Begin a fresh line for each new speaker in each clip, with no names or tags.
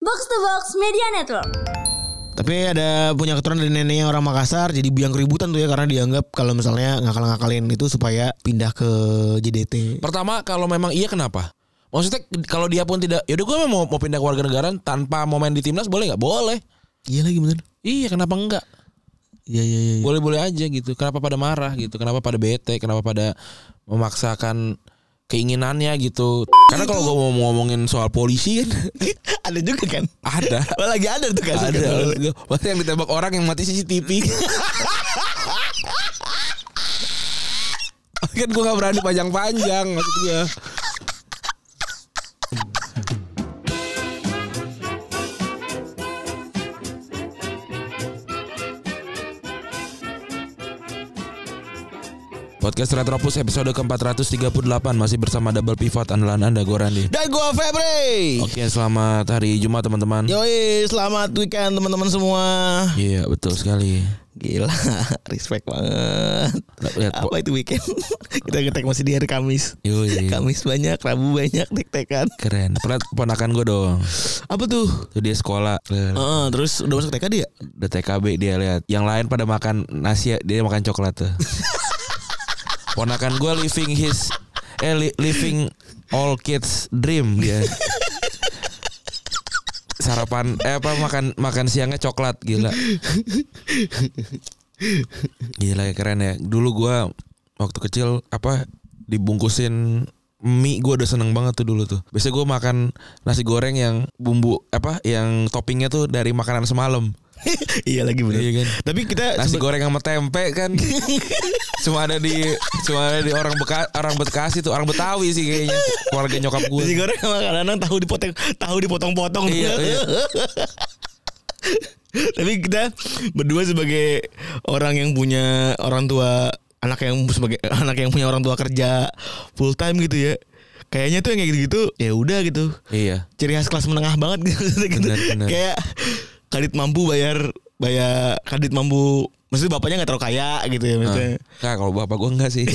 Box to Box Media Network.
Tapi ada punya keturunan dari neneknya orang Makassar jadi biang keributan tuh ya karena dianggap kalau misalnya ngakal-ngakalin itu supaya pindah ke JDT.
Pertama kalau memang iya kenapa? Maksudnya kalau dia pun tidak, yaudah gue mau mau pindah ke warga negara tanpa mau main di timnas boleh nggak? Boleh.
Iya lagi bener.
Iya kenapa enggak?
Iya iya iya. iya.
Boleh-boleh aja gitu. Kenapa pada marah gitu? Kenapa pada bete? Kenapa pada memaksakan keinginannya gitu? Karena kalau gue mau ngomongin soal polisi kan
ada juga kan.
ada.
Oh, lagi ada tuh kasus
Ada.
kan?
maksud gua. Maksudnya yang ditembak orang yang mati CCTV. kan gue gak berani panjang-panjang maksud gue. Podcast Retropus episode ke-438 masih bersama double pivot andalan Anda gue Randy.
Dan gua Febri.
Oke, selamat hari Jumat teman-teman.
Yoi, selamat weekend teman-teman semua.
Iya, betul sekali.
Gila, respect banget.
Lihat- lihat,
Apa itu weekend? Kita ngetek masih di hari Kamis.
Yoi.
Kamis banyak, Rabu banyak, tek-tekan.
Keren. Pernah ponakan gue dong.
Apa tuh?
Tuh dia sekolah. Lihat,
Heeh, terus udah masuk TK dia?
Udah TKB dia lihat. Yang lain pada makan nasi, dia makan coklat tuh. ponakan gue living his eh li- living all kids dream dia. Sarapan eh apa makan makan siangnya coklat gila. Gila ya keren ya. Dulu gue waktu kecil apa dibungkusin mie gue udah seneng banget tuh dulu tuh. Biasanya gue makan nasi goreng yang bumbu apa yang toppingnya tuh dari makanan semalam.
iya lagi bener.
Iya kan?
Tapi kita
Nasi
sebe-
goreng sama tempe kan cuma ada di cuma ada di orang Beka, orang Bekasi tuh orang Betawi sih kayaknya keluarga nyokap gue.
nasi goreng sama kadang tahu dipotong tahu dipotong-potong.
Iya, iya.
Tapi kita berdua sebagai orang yang punya orang tua anak yang sebagai anak yang punya orang tua kerja full time gitu ya. Kayaknya tuh yang kayak gitu-gitu ya udah gitu.
Iya.
Ciri khas kelas menengah banget gitu. gitu.
Benar, benar.
Kayak kadit mampu bayar bayar kadit mampu Maksudnya bapaknya gak terlalu kaya gitu ya maksudnya.
Nah, kalau bapak gue enggak sih.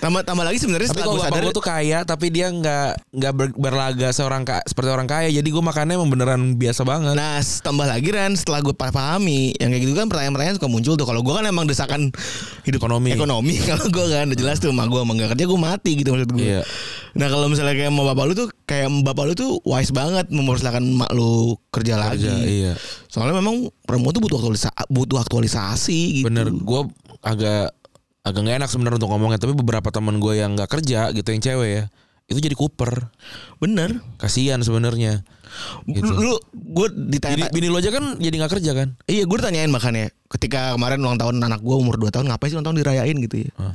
Tambah tambah lagi sebenarnya
tapi
setelah gue
kalau bapak
sadar
gue tuh kaya tapi dia nggak nggak ber- berlaga seorang ka- seperti orang kaya. Jadi gue makannya emang beneran biasa banget.
Nah tambah lagi Ran Setelah gue pahami Yang kayak gitu kan pertanyaan-pertanyaan suka muncul tuh Kalau gue kan emang desakan hidup
Ekonomi.
Ekonomi Kalau gue kan udah jelas tuh Emang gue emang gak kerja gue mati gitu maksud gue
Iya.
Nah kalau misalnya kayak mau bapak lu tuh Kayak bapak lu tuh wise banget Mempersilahkan mak lu kerja, lagi
Kerja, iya.
Soalnya memang perempuan tuh butuh, aktualisa butuh aktualisasi gitu
Bener, gue agak agak nggak enak sebenarnya untuk ngomongnya. Tapi beberapa teman gue yang nggak kerja gitu yang cewek ya itu jadi kuper.
Bener
Kasihan sebenarnya. Gitu.
Lu gue ditanya
Bini, bini lo aja kan jadi nggak kerja kan?
Iya gue ditanyain makanya Ketika kemarin ulang tahun anak gue umur 2 tahun Ngapain sih ulang tahun dirayain gitu ya
Hah.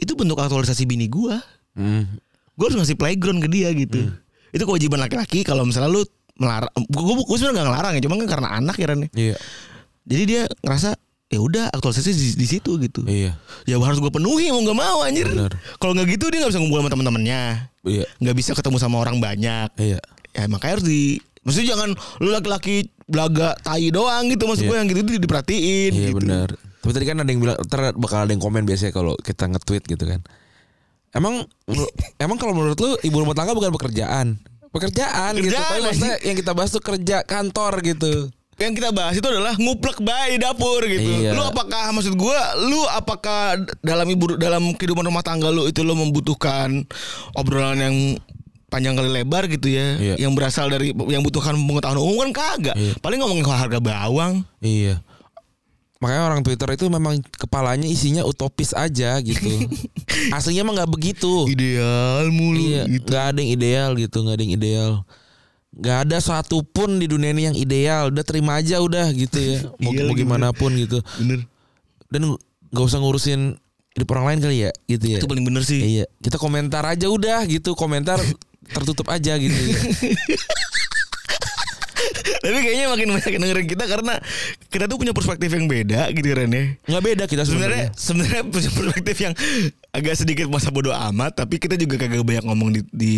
Itu bentuk aktualisasi bini gue
Hmm.
gue harus ngasih playground ke dia gitu itu kewajiban laki-laki kalau misalnya lu melarang gue gue sebenarnya nggak ngelarang ya cuma kan karena anak ya Ren ya.
Iya,
jadi dia ngerasa ya udah aktualisasi di, di situ gitu
iya,
ya harus gue penuhi mau nggak mau anjir
Bener.
kalau nggak gitu dia nggak bisa ngumpul sama teman-temannya
iya,
nggak bisa ketemu sama orang banyak
iya.
ya makanya harus di maksudnya jangan lu laki-laki belaga tai doang gitu maksud gue yang gitu itu diperhatiin
Iya
gitu.
benar. Tapi tadi kan ada yang bilang ntar bakal ada yang komen biasanya kalau kita nge-tweet gitu kan. Emang emang kalau menurut lu ibu rumah tangga bukan pekerjaan? Pekerjaan, gitu.
Kerjaan,
Tapi maksudnya yang kita bahas tuh kerja kantor gitu.
yang kita bahas itu adalah nguplek bayi di dapur gitu.
Iya.
Lu apakah maksud gua lu apakah dalam ibu dalam kehidupan rumah tangga lu itu lu membutuhkan obrolan yang panjang kali lebar gitu ya
Iya.
yang berasal dari yang butuhkan pengetahuan umum kan kagak.
Iya.
Paling ngomongin soal harga bawang.
Iya. Makanya orang Twitter itu memang kepalanya isinya utopis aja gitu. Aslinya emang nggak begitu.
Ideal mulu
Oh. Iya,
gitu.
nggak ada yang ideal gitu, nggak ada yang ideal. Nggak ada satupun di dunia ini yang ideal. Udah terima aja udah gitu ya. Mau,
Iya
mau
lagi,
gimana pun gitu.
Bener.
Dan nggak usah ngurusin hidup orang lain kali ya gitu ya.
Itu paling bener sih.
Iya, kita komentar aja udah gitu, komentar tertutup aja gitu.
Tapi kayaknya makin banyak yang dengerin kita karena kita tuh punya perspektif yang beda gitu kan ya.
Nggak beda kita
sebenarnya
sebenarnya.
sebenarnya punya perspektif yang agak sedikit masa bodoh amat tapi kita juga kagak banyak ngomong di, di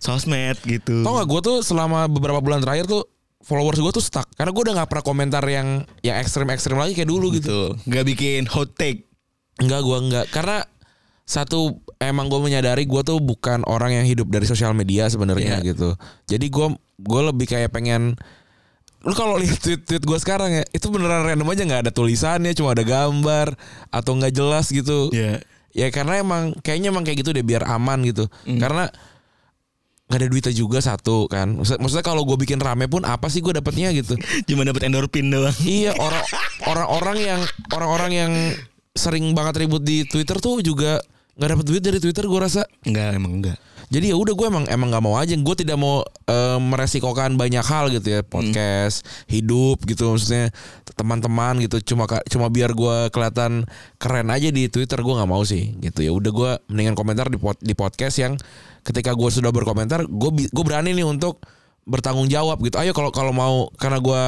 sosmed gitu
Tau gak gue tuh selama beberapa bulan terakhir tuh followers gue tuh stuck karena gue udah nggak pernah komentar yang yang ekstrim ekstrim lagi kayak dulu gitu.
gitu nggak bikin hot take
Enggak gua enggak karena satu emang gue menyadari gue tuh bukan orang yang hidup dari sosial media sebenarnya
Iya.
gitu. Jadi gue gue lebih kayak pengen lu kalau lihat tweet-tweet gue sekarang ya itu beneran random aja nggak ada tulisannya cuma ada gambar atau nggak jelas gitu
Iya.
ya karena emang kayaknya emang kayak gitu deh biar aman gitu
Hmm.
karena nggak ada duitnya juga satu kan Maksud- maksudnya kalau gue bikin rame pun apa sih gue dapetnya gitu
Cuma dapat endorfin doang.
iya orang orang-orang yang orang-orang yang sering banget ribut di Twitter tuh juga nggak dapet duit dari Twitter gue rasa
Enggak, emang enggak.
jadi ya udah gue emang emang nggak mau aja gue tidak mau eh, meresikokan banyak hal gitu ya podcast hidup gitu maksudnya teman-teman gitu cuma ka- cuma biar gue kelihatan keren aja di twitter gue nggak mau sih gitu ya udah gue mendingan komentar di pod- di podcast yang ketika gue sudah berkomentar gue bi- gue berani nih untuk bertanggung jawab gitu ayo kalau kalau mau karena gue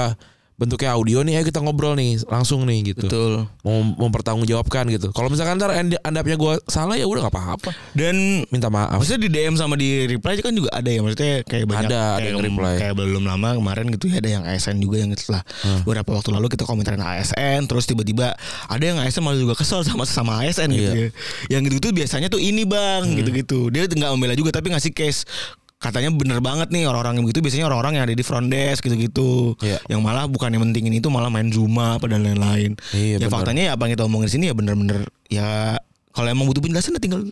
bentuknya audio nih ayo kita ngobrol nih langsung nih gitu
Betul.
mau mempertanggungjawabkan gitu kalau misalkan ntar end- andapnya gue salah ya udah nggak apa-apa
Dan
minta maaf
Maksudnya di DM sama di reply kan juga ada ya maksudnya kayak banyak
Ada, ada
kayak,
yang reply.
kayak belum lama kemarin gitu ya ada yang ASN juga yang setelah beberapa waktu lalu kita komentarin ASN terus tiba-tiba ada yang ASN malah juga kesel sama sama ASN gitu
Iya. Hmm.
ya. Yang gitu tuh biasanya tuh ini bang gitu-gitu dia nggak membela juga tapi ngasih case katanya bener banget nih orang-orang yang begitu biasanya orang-orang yang ada di front desk gitu-gitu
Iya.
yang malah bukan yang pentingin itu malah main zuma apa dan lain-lain
Iya,
ya
bener.
faktanya ya apa yang kita omongin di sini ya bener-bener ya kalau emang butuh penjelasan ya tinggal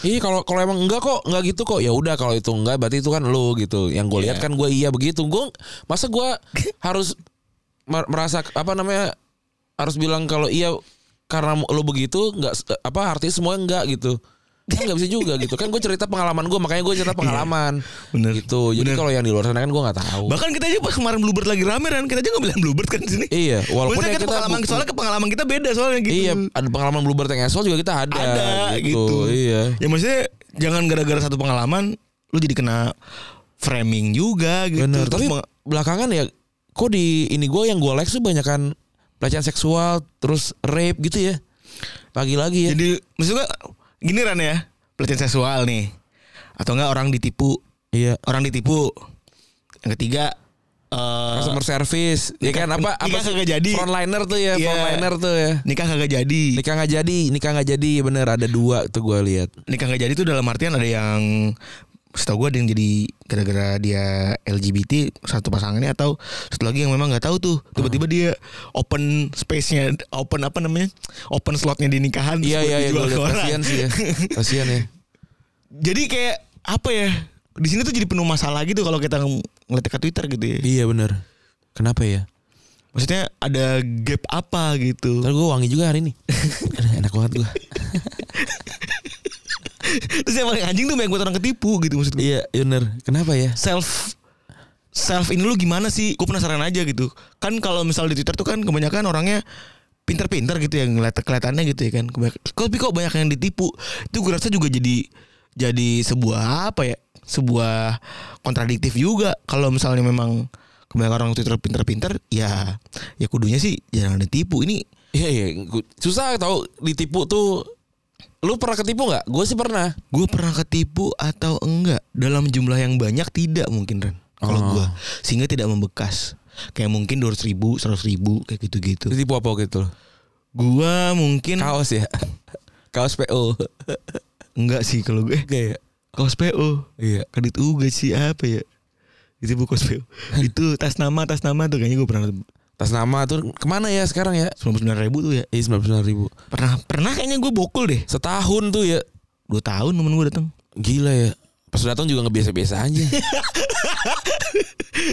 Iya kalau kalau emang enggak kok enggak gitu kok ya udah kalau itu enggak berarti itu kan lu gitu. Yang gue lihat kan gue iya begitu. Gue masa gue harus mer- merasa apa namanya harus bilang kalau iya karena lu begitu enggak s- apa artinya semua enggak gitu. Kan enggak bisa juga gitu. Kan gue cerita pengalaman gue makanya gue cerita pengalaman.
Bener.
Gitu. Jadi
Iya. Bener.
kalau yang di luar sana kan gue nggak tahu.
Bahkan kita aja pas kemarin Bluebird lagi rame kan, kita aja nggak bilang Bluebird kan di sini.
Iya, walaupun
Maksudnya
ya
kita
kita
pengalaman
bu-
soalnya ke pengalaman kita beda soalnya gitu.
Iya, ada pengalaman Bluebird yang esol juga kita ada,
ada gitu.
Iya.
Ya maksudnya jangan gara-gara satu pengalaman lu jadi kena framing juga gitu. Terus
Bener. Tapi
meng-
belakangan ya kok di ini gue yang gue like tuh banyak kan pelecehan seksual terus rape gitu ya. Lagi-lagi ya.
jadi maksudnya gini Ran ya, pelecehan seksual nih. Atau enggak orang ditipu,
iya.
orang ditipu. Yang ketiga eh
Customer service ya kan apa apa
nikah
sih?
kagak jadi.
frontliner tuh
Iya.
ya, frontliner tuh ya.
nikah kagak jadi.
Nikah nggak jadi, nikah nggak jadi bener ada dua tuh gue lihat.
nikah nggak jadi tuh dalam artian ada yang setahu gue ada yang jadi gara-gara dia LGBT satu pasangannya atau satu lagi yang memang nggak tahu tuh tiba-tiba dia open space-nya open apa namanya open slotnya di nikahan
Iya
terus
iya iya
dijual
gue
ke
liat
orang.
kasihan sih ya. Kasihan ya.
jadi kayak apa ya di sini tuh jadi penuh masalah gitu kalau kita ng- ngeliat ke Twitter gitu ya
Iya bener. Kenapa ya?
maksudnya ada gap apa gitu
Ntar gue wangi juga hari ini. Aduh, Enak banget gue.
terus yang paling anjing tuh banyak buat orang ketipu gitu maksud gue
Iya bener. Kenapa ya?
self self ini lu gimana sih? Gue penasaran aja gitu. Kan kalau misal di Twitter tuh kan kebanyakan orangnya pinter-pinter gitu ya ngeliat kelihatannya gitu ya kan. Kebanyak- Kok tapi kok banyak yang ditipu? Itu gue rasa juga jadi jadi sebuah apa ya? Sebuah kontradiktif juga kalau misalnya memang kebanyakan orang Twitter pinter-pinter ya ya kudunya sih jangan ditipu. Ini
Iya iya, Gu- susah tau ditipu tuh. Lu pernah ketipu nggak? Gue sih pernah.
gue pernah ketipu atau enggak dalam jumlah yang banyak tidak mungkin Ren kalau
Oh.
gue sehingga tidak membekas kayak mungkin dua ribu seratus ribu kayak gitu gitu
Ditipu apa gitu?
gue mungkin
Kaos ya. Kaos PO.
enggak sih kalau Eh, gue
Oke ya.
kaos PO
Iya.
kredit UG sih apa ya itu buku kaos PO itu tas nama tas nama tuh kayaknya gue pernah
Tas nama tuh kemana ya sekarang ya?
sembilan ribu tuh ya
Iya sembilan ribu.
pernah pernah kayaknya gue bokul deh
Setahun tuh ya.
dua tahun temen gue datang
Gila ya. Pas datang juga nggak biasa-biasa aja.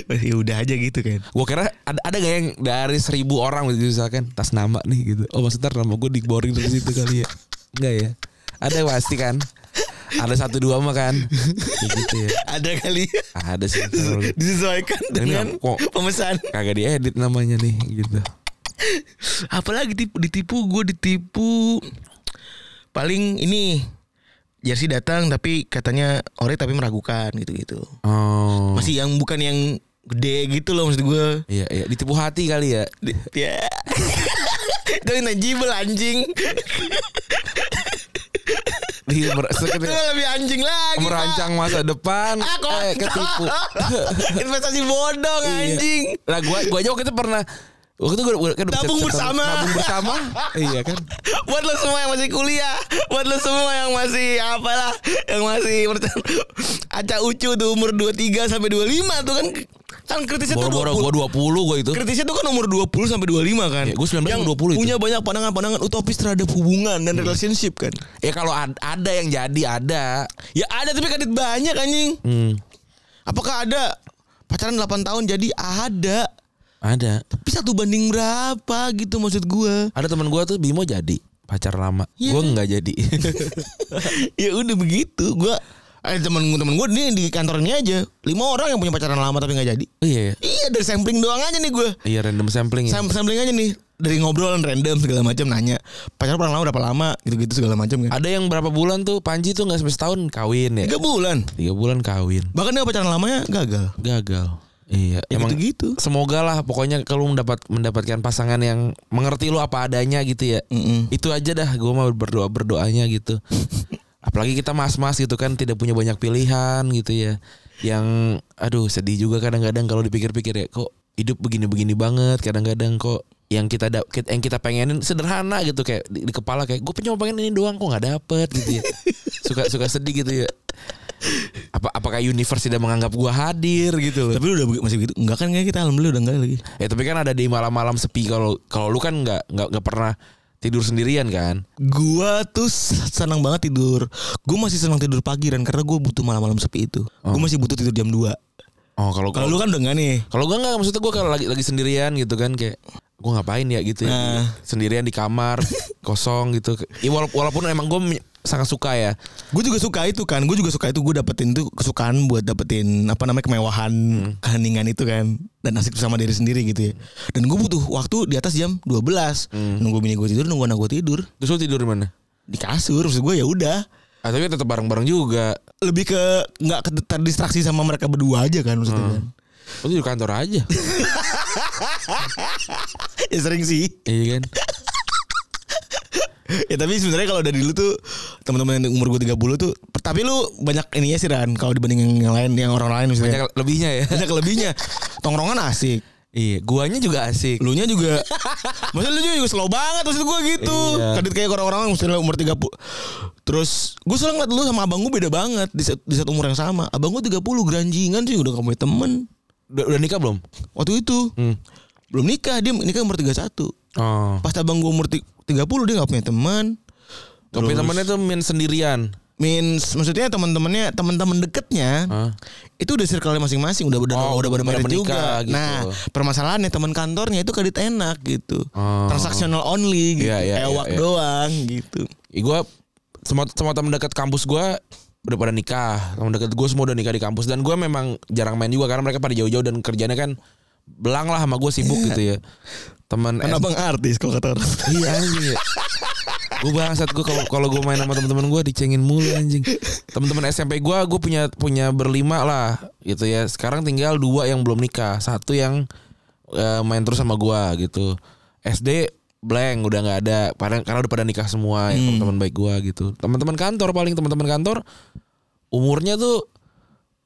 ya udah aja gitu kan
gue kira ada ada gak yang dari seribu orang gitu misalkan tas nama nih gitu. Oh maksudnya nama gue diboring dari situ kali ya? Enggak ya? Ada pasti kan? Ada satu dua mah kan? Gitu ya.
ada kali
Ada sih. kalau gitu.
disesuaikan dengan
kok.
pemesan
kagak diedit namanya nih gitu.
apalagi tipu ditipu gue ditipu paling ini jersey datang tapi katanya ori tapi meragukan gitu gitu
Oh.
masih yang bukan yang gede gitu loh maksud gue
Iya, iya, ditipu hati kali ya.
Di- ya itu intangible anjing
Di mer-
itu
sekedar
lebih anjing lagi Pak.
merancang masa depan
ah, kok
eh, ketipu.
investasi bodong
Iya.
anjing
Lah gua gua aja waktu itu pernah Waktu itu gue kan udah
Tabung
cerita-
bersama.
Tabung bersama. iya kan.
buat lo semua yang masih kuliah, buat lo semua yang masih apalah, yang masih percaya- aca ucu tuh umur 23 sampai 25 tuh kan kan kritisnya tuh 20.
Boro-boro gue 20 gue itu.
Kritisnya tuh kan umur 20 sampai 25 kan.
Ya, gua 19
yang
20 itu. Iya.
punya banyak pandangan-pandangan utopis terhadap hubungan dan relationship kan.
Ya kalau ad- ada yang jadi ada.
Ya ada tapi kadit banyak anjing.
Hmm,
Apakah ada pacaran 8 tahun jadi ada?
ada.
Tapi satu banding berapa gitu maksud gua.
Ada teman gue tuh Bimo jadi pacar lama.
Iya.
Gue nggak jadi.
ya udah begitu gua eh temen temen gue nih di kantor ini aja lima orang yang punya pacaran lama tapi nggak jadi
Oh, iya. iya.
iya dari sampling doang aja nih gue
Iya random sampling ya.
Sam sampling aja nih dari ngobrolan random segala macam nanya pacaran paling lama berapa lama gitu gitu segala macam kan
Ada yang berapa bulan tuh Panji tuh nggak sampai setahun kawin ya.
tiga bulan
Tiga bulan kawin.
bahkan yang pacaran lamanya gagal
Gagal. Iya.
ya
emang
gitu gitu
Semoga lah pokoknya kalau mendapat mendapatkan pasangan yang mengerti lu apa adanya gitu ya. Itu aja dah gue mau berdoa berdoanya gitu. Apalagi kita mas-mas gitu kan tidak punya banyak pilihan gitu ya. Yang aduh sedih juga kadang-kadang kalau dipikir-pikir ya kok hidup begini-begini banget kadang-kadang kok yang kita da- kit- yang kita pengenin sederhana gitu kayak di, di kepala kayak gue cuma pengen ini doang kok nggak dapet gitu ya. suka suka sedih gitu ya. Apa apakah universe tidak menganggap gua hadir gitu loh.
tapi lu udah begi- masih begitu enggak kan kayak kita alhamdulillah udah enggak lagi
Ya tapi kan ada di malam-malam sepi kalau kalau lu kan nggak nggak nggak pernah tidur sendirian kan?
gua tuh s- senang banget tidur gua masih senang tidur pagi dan karena gua butuh malam-malam sepi itu gua masih butuh tidur jam 2
Oh kalau
kalau lu kan udah enggak nih
kalau gua nggak maksudnya gua kalau lagi lagi sendirian gitu kan kayak gua ngapain ya gitu ya
Nah.
sendirian di kamar kosong gitu. Ya, wala- walaupun emang gua men- sangat suka ya.
Gue juga suka itu kan, gue juga suka itu, gue dapetin tuh kesukaan buat dapetin apa namanya kemewahan, keheningan itu kan, dan asik sama diri sendiri gitu ya. Dan gue butuh waktu di atas jam 12 nunggu bini gue tidur, nunggu anak gue tidur
Terus lu tidur di mana?
di kasur, maksud gue ya udah
Ah, tapi tetap bareng-bareng juga.
lebih ke nggak ke- terdistraksi sama mereka berdua aja kan maksudnya kan.
Lu tidur kantor aja.
Ya sering sih.
iya kan?
ya tapi sebenarnya kalau dari lu tuh teman-teman yang umur gue 30 tuh, tapi lu banyak ininya sih Ran kalau dibanding yang lain yang orang lain
Banyak
misalnya.
lebihnya ya.
Banyak lebihnya. Tongkrongan asik.
iya, guanya juga asik.
Lu nya juga Maksudnya lu juga slow banget Maksud gue gitu
Iya.
Kadit kayak orang-orang Maksudnya umur 30 Terus Gue selalu ngeliat lu sama abang gue beda banget Di saat, di saat umur yang sama Abang gue 30 Geranjingan sih Udah gak punya temen
Udah, udah nikah belum?
Waktu itu
Hmm.
Belum nikah Dia nikah umur 31
Oh.
Pas abang gue umur ti- 30 Dia gak punya teman
Tapi temennya tuh main sendirian.
Means Maksudnya teman-temannya Teman-teman deketnya
Hah?
Itu udah circle masing-masing Udah udah,
Oh,
udah pada
udah
married juga
menikah gitu.
Nah permasalahannya teman kantornya itu kadit enak gitu
Oh.
Transactional only gitu
Iya, iya,
Ewak
iya, iya.
doang gitu
Ya gue semua semua teman dekat kampus gua udah pada nikah. Teman dekat gue semua udah nikah di kampus dan gua memang jarang main juga karena mereka pada jauh-jauh dan kerjanya kan belang lah sama gue sibuk gitu ya. Teman
Kan abang artis kalau kata orang
Iya anjing ya. Gue bangsat gue kalau kalau gue main sama teman-teman gue dicengin mulu anjing. Teman-teman SMP gue gue punya punya berlima lah gitu ya. Sekarang tinggal dua yang belum nikah, satu yang eh, main terus sama gue gitu. SD blank udah nggak ada padahal karena udah pada nikah semua ya, teman-teman baik gue gitu. Teman-teman kantor paling teman-teman kantor umurnya tuh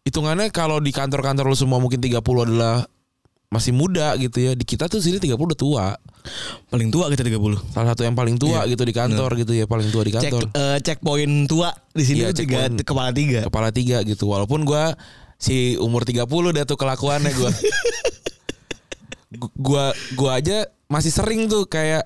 hitungannya kalau di kantor-kantor lu semua mungkin 30 adalah masih muda gitu ya. Di kita tuh sini 30 udah tua
Paling tua kita 30
salah satu yang paling tua gitu di kantor gitu ya paling tua di
Cek
kantor
eh, cek poin tua di sini
Iya,
tuh
cek
tiga,
poin.
kepala tiga
kepala tiga gitu walaupun gua si umur 30 dah tuh kelakuannya gua Gu- gua gua aja masih sering tuh kayak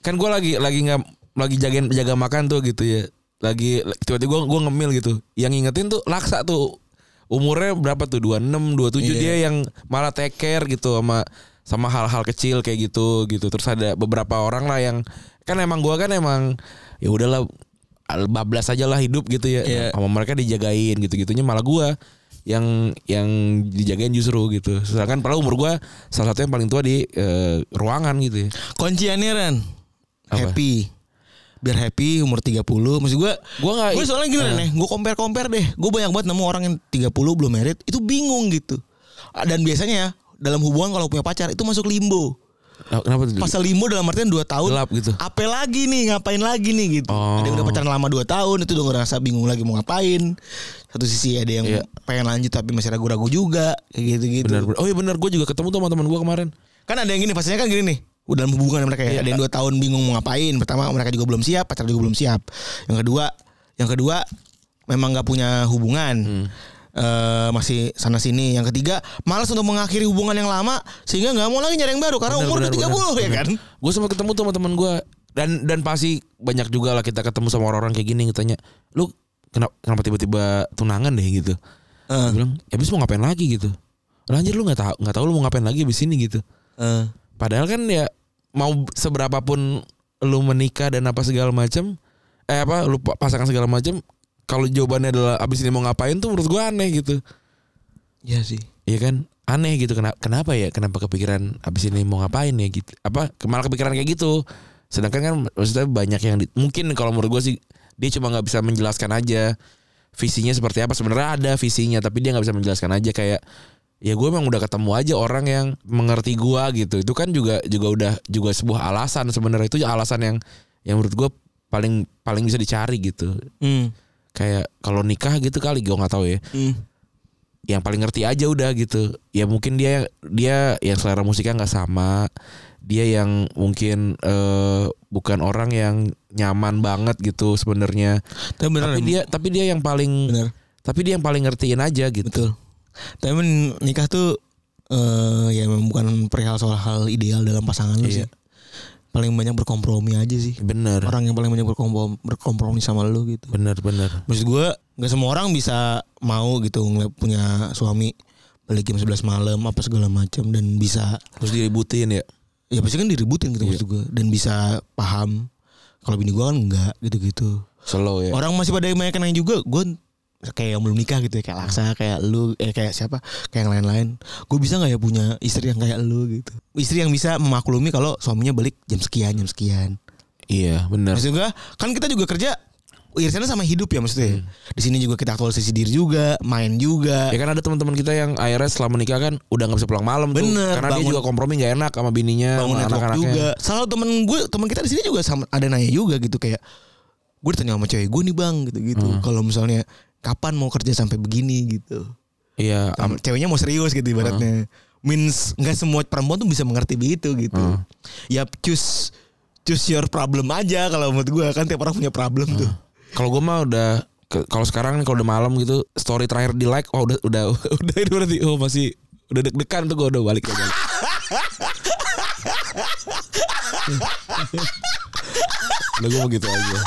kan gua lagi lagi nggak lagi jagain jaga makan tuh gitu ya lagi tiba-tiba gua gua ngemil gitu yang ngingetin tuh laksa tuh umurnya berapa tuh 26 27 dia yang malah take care gitu sama sama hal-hal kecil kayak gitu gitu terus ada beberapa orang lah yang kan emang gua kan emang ya udahlah al- bablas aja lah hidup gitu ya
Iya.
sama mereka dijagain gitu-gitunya malah gua yang yang dijagain justru gitu sedangkan padahal umur gua salah satu yang paling tua di eh, ruangan gitu ya
Kunciannya Ran
Apa?
Happy Biar happy umur 30 Maksud gue
Gua nggak- Eh.
Gue soalnya gini nih Gue compare-compare deh Gue banyak banget nemu orang yang 30 belum married Itu bingung gitu Ah, Dan biasanya ya Dalam hubungan kalau punya pacar Itu masuk limbo
Oh, kenapa tuh
Pasal limbo dalam artian 2 tahun
gelap gitu
Apa lagi nih ngapain lagi nih gitu.
Oh.
Ada yang udah pacaran lama 2 tahun itu udah ngerasa bingung lagi mau ngapain. Satu sisi ada yang
Iya.
pengen lanjut tapi masih ragu-ragu juga kayak gitu-gitu.
benar benar. oh iya benar gue juga ketemu tuh sama teman gue kemarin
kan ada yang gini pastinya kan gini nih udah dalam hubungan mereka
Iya.
ya. ada yang dua tahun bingung mau ngapain pertama mereka juga belum siap pacar juga belum siap yang kedua yang kedua memang nggak punya
Hmm.
hubungan Eh, masih sana sini yang ketiga malas untuk mengakhiri hubungan yang lama sehingga nggak mau lagi nyari yang baru karena umur udah 30 ya kan
Gue sempat ketemu tuh sama teman gue dan dan pasti banyak juga lah kita ketemu sama orang-orang kayak gini yang tanya, "Lu kenapa kenapa tiba-tiba tunangan deh gitu?"
Heeh.
Gua bilang, "Ya, "Abis mau ngapain lagi gitu?" "Lah, Anjir lu nggak tahu nggak tahu lu mau ngapain lagi abis ini gitu.
Eh,
Padahal kan ya mau seberapapun lu menikah dan apa segala macam eh apa lu pa- pasangan segala macam kalau jawabannya adalah abis ini mau ngapain tuh menurut gue aneh gitu.
Iya sih
Iya kan aneh gitu kenapa kenapa ya kenapa kepikiran abis ini mau ngapain ya gitu apa ke- malah kepikiran kayak gitu sedangkan kan maksudnya banyak yang di- mungkin kalau menurut gue sih dia cuma nggak bisa menjelaskan aja visinya seperti apa sebenarnya ada visinya tapi dia nggak bisa menjelaskan aja kayak ya gue emang udah ketemu aja orang yang mengerti gue gitu itu kan juga juga udah juga sebuah alasan sebenarnya itu alasan yang yang menurut gue paling paling bisa dicari gitu
Hmm.
kayak kalau nikah gitu kali gue nggak tahu ya
Hmm.
yang paling ngerti aja udah gitu ya mungkin dia dia yang selera musiknya nggak sama dia yang mungkin eh, bukan orang yang nyaman banget gitu sebenarnya
Tapi beneran
tapi dia tapi dia yang paling
Bener.
tapi dia yang paling ngertiin aja gitu
Betul. Tapi men, nikah tuh eh ya memang bukan perihal soal hal ideal dalam pasangan lu
Iya.
sih. Paling banyak berkompromi aja sih.
bener
Orang yang paling banyak berkompromi, berkompromi sama lu gitu.
bener bener
Maksud gue nggak semua orang bisa mau gitu ngeliat punya suami balik jam 11 malam apa segala macam dan bisa
terus diributin ya
ya pasti kan diributin gitu maksud gue dan bisa paham kalau bini gue kan enggak gitu-gitu.
slow ya
Orang masih pada banyak yang nanya juga Gue kayak yang belum nikah gitu ya Kayak Laksa Kayak lu eh, Kayak siapa Kayak yang lain-lain Gue bisa gak ya punya istri yang kayak lu gitu Istri yang bisa memaklumi Kalau suaminya balik jam sekian Jam sekian
iya bener
Maksud gue Kan kita juga kerja Irisannya sama hidup ya
Hmm.
maksudnya Di sini juga kita aktualisasi diri juga Main juga
ya kan ada teman-teman kita yang akhirnya setelah menikah kan udah nggak bisa pulang malam tuh
Bener,
karena dia
bangun-
juga kompromi nggak enak sama bininya
bangun
sama
network
anak-anaknya.
juga. Salah satu temen gue, temen kita di sini juga sama ada nanya juga gitu kayak gue ditanya sama cewek gue nih bang gitu-gitu.
Hmm.
Kalau misalnya kapan mau kerja sampai begini gitu.
iya
Am-
am-
ceweknya mau serius gitu ibaratnya. Means nggak semua perempuan tuh bisa mengerti begitu gitu. Ya choose choose your problem aja kalau menurut gua kan tiap orang punya problem tuh.
Kalau gue mah udah ke- kalau sekarang nih kalau udah malam gitu story terakhir di like oh udah udah udah itu berarti oh masih udah deg-degan tuh gue udah balik udah balik. Udah gue begitu aja.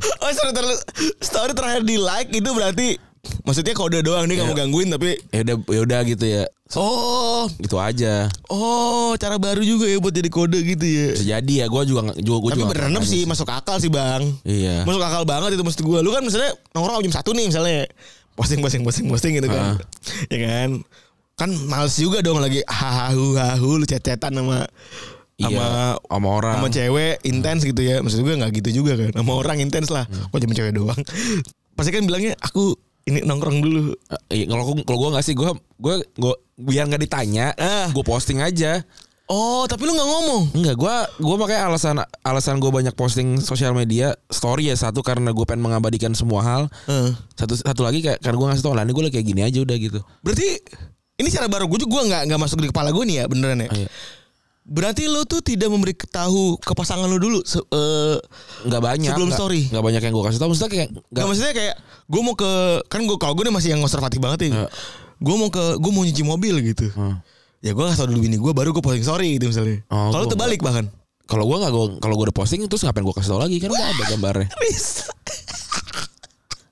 Oh story, ter- story terakhir di like itu berarti maksudnya kode doang dia nggak mau gangguin tapi
Ya udah ya udah gitu ya.
oh
Gitu aja.
oh cara baru juga ya buat jadi kode gitu ya.
Bisa jadi ya gue juga nggak- juga gue
Tapi
juga. nggak
berenam
nanya
sih masuk akal sih bang.
Iya.
Masuk akal banget itu maksud gue. Lu kan misalnya nongkrong jam satu nih misalnya posting posting posting posting gitu kan, ya kan? Kan males juga dong lagi hahu hahu lu cetetan sama
Iya,
sama
sama orang.
sama cewek intens gitu ya. Maksud gue nggak gitu juga kan. Sama orang intens lah. Kok cuma cewek doang. Pasti kan bilangnya aku ini nongkrong dulu.
Eh, iya, kalau gua- kalau gue nggak sih gue gue gue biar nggak ditanya
Ah.
gue posting aja.
Oh tapi lu nggak ngomong.
Enggak, gua gua makanya alasan alasan gua banyak posting sosial media story ya satu karena gua pengen mengabadikan semua hal.
Heeh.
Satu satu lagi kayak karena gua ngasih tau lah ini gua lagi kayak gini aja udah gitu.
Berarti ini cara baru gue juga gue nggak nggak masuk di kepala gue nih ya beneran ya.
Iya.
Berarti lu tuh tidak memberi tahu ke pasangan lu dulu se- eh,
Enggak banyak.
Sebelum
nggak-
story.
Enggak banyak yang gua kasih tau maksudnya kayak
Gak,
enggak
maksudnya kayak gue mau ke kan gue kalau gue nih masih yang konservatif banget ya.
Iya.
Gue mau ke gue mau nyuci mobil gitu.
Hmm.
Ya gue kasih tau dulu bini gue baru gue posting story gitu misalnya.
Oh,
kalau
gua
terbalik bahkan.
kalau gua enggak gua kalau gua udah posting terus ngapain gua kasih tau lagi kan udah ada gambarnya.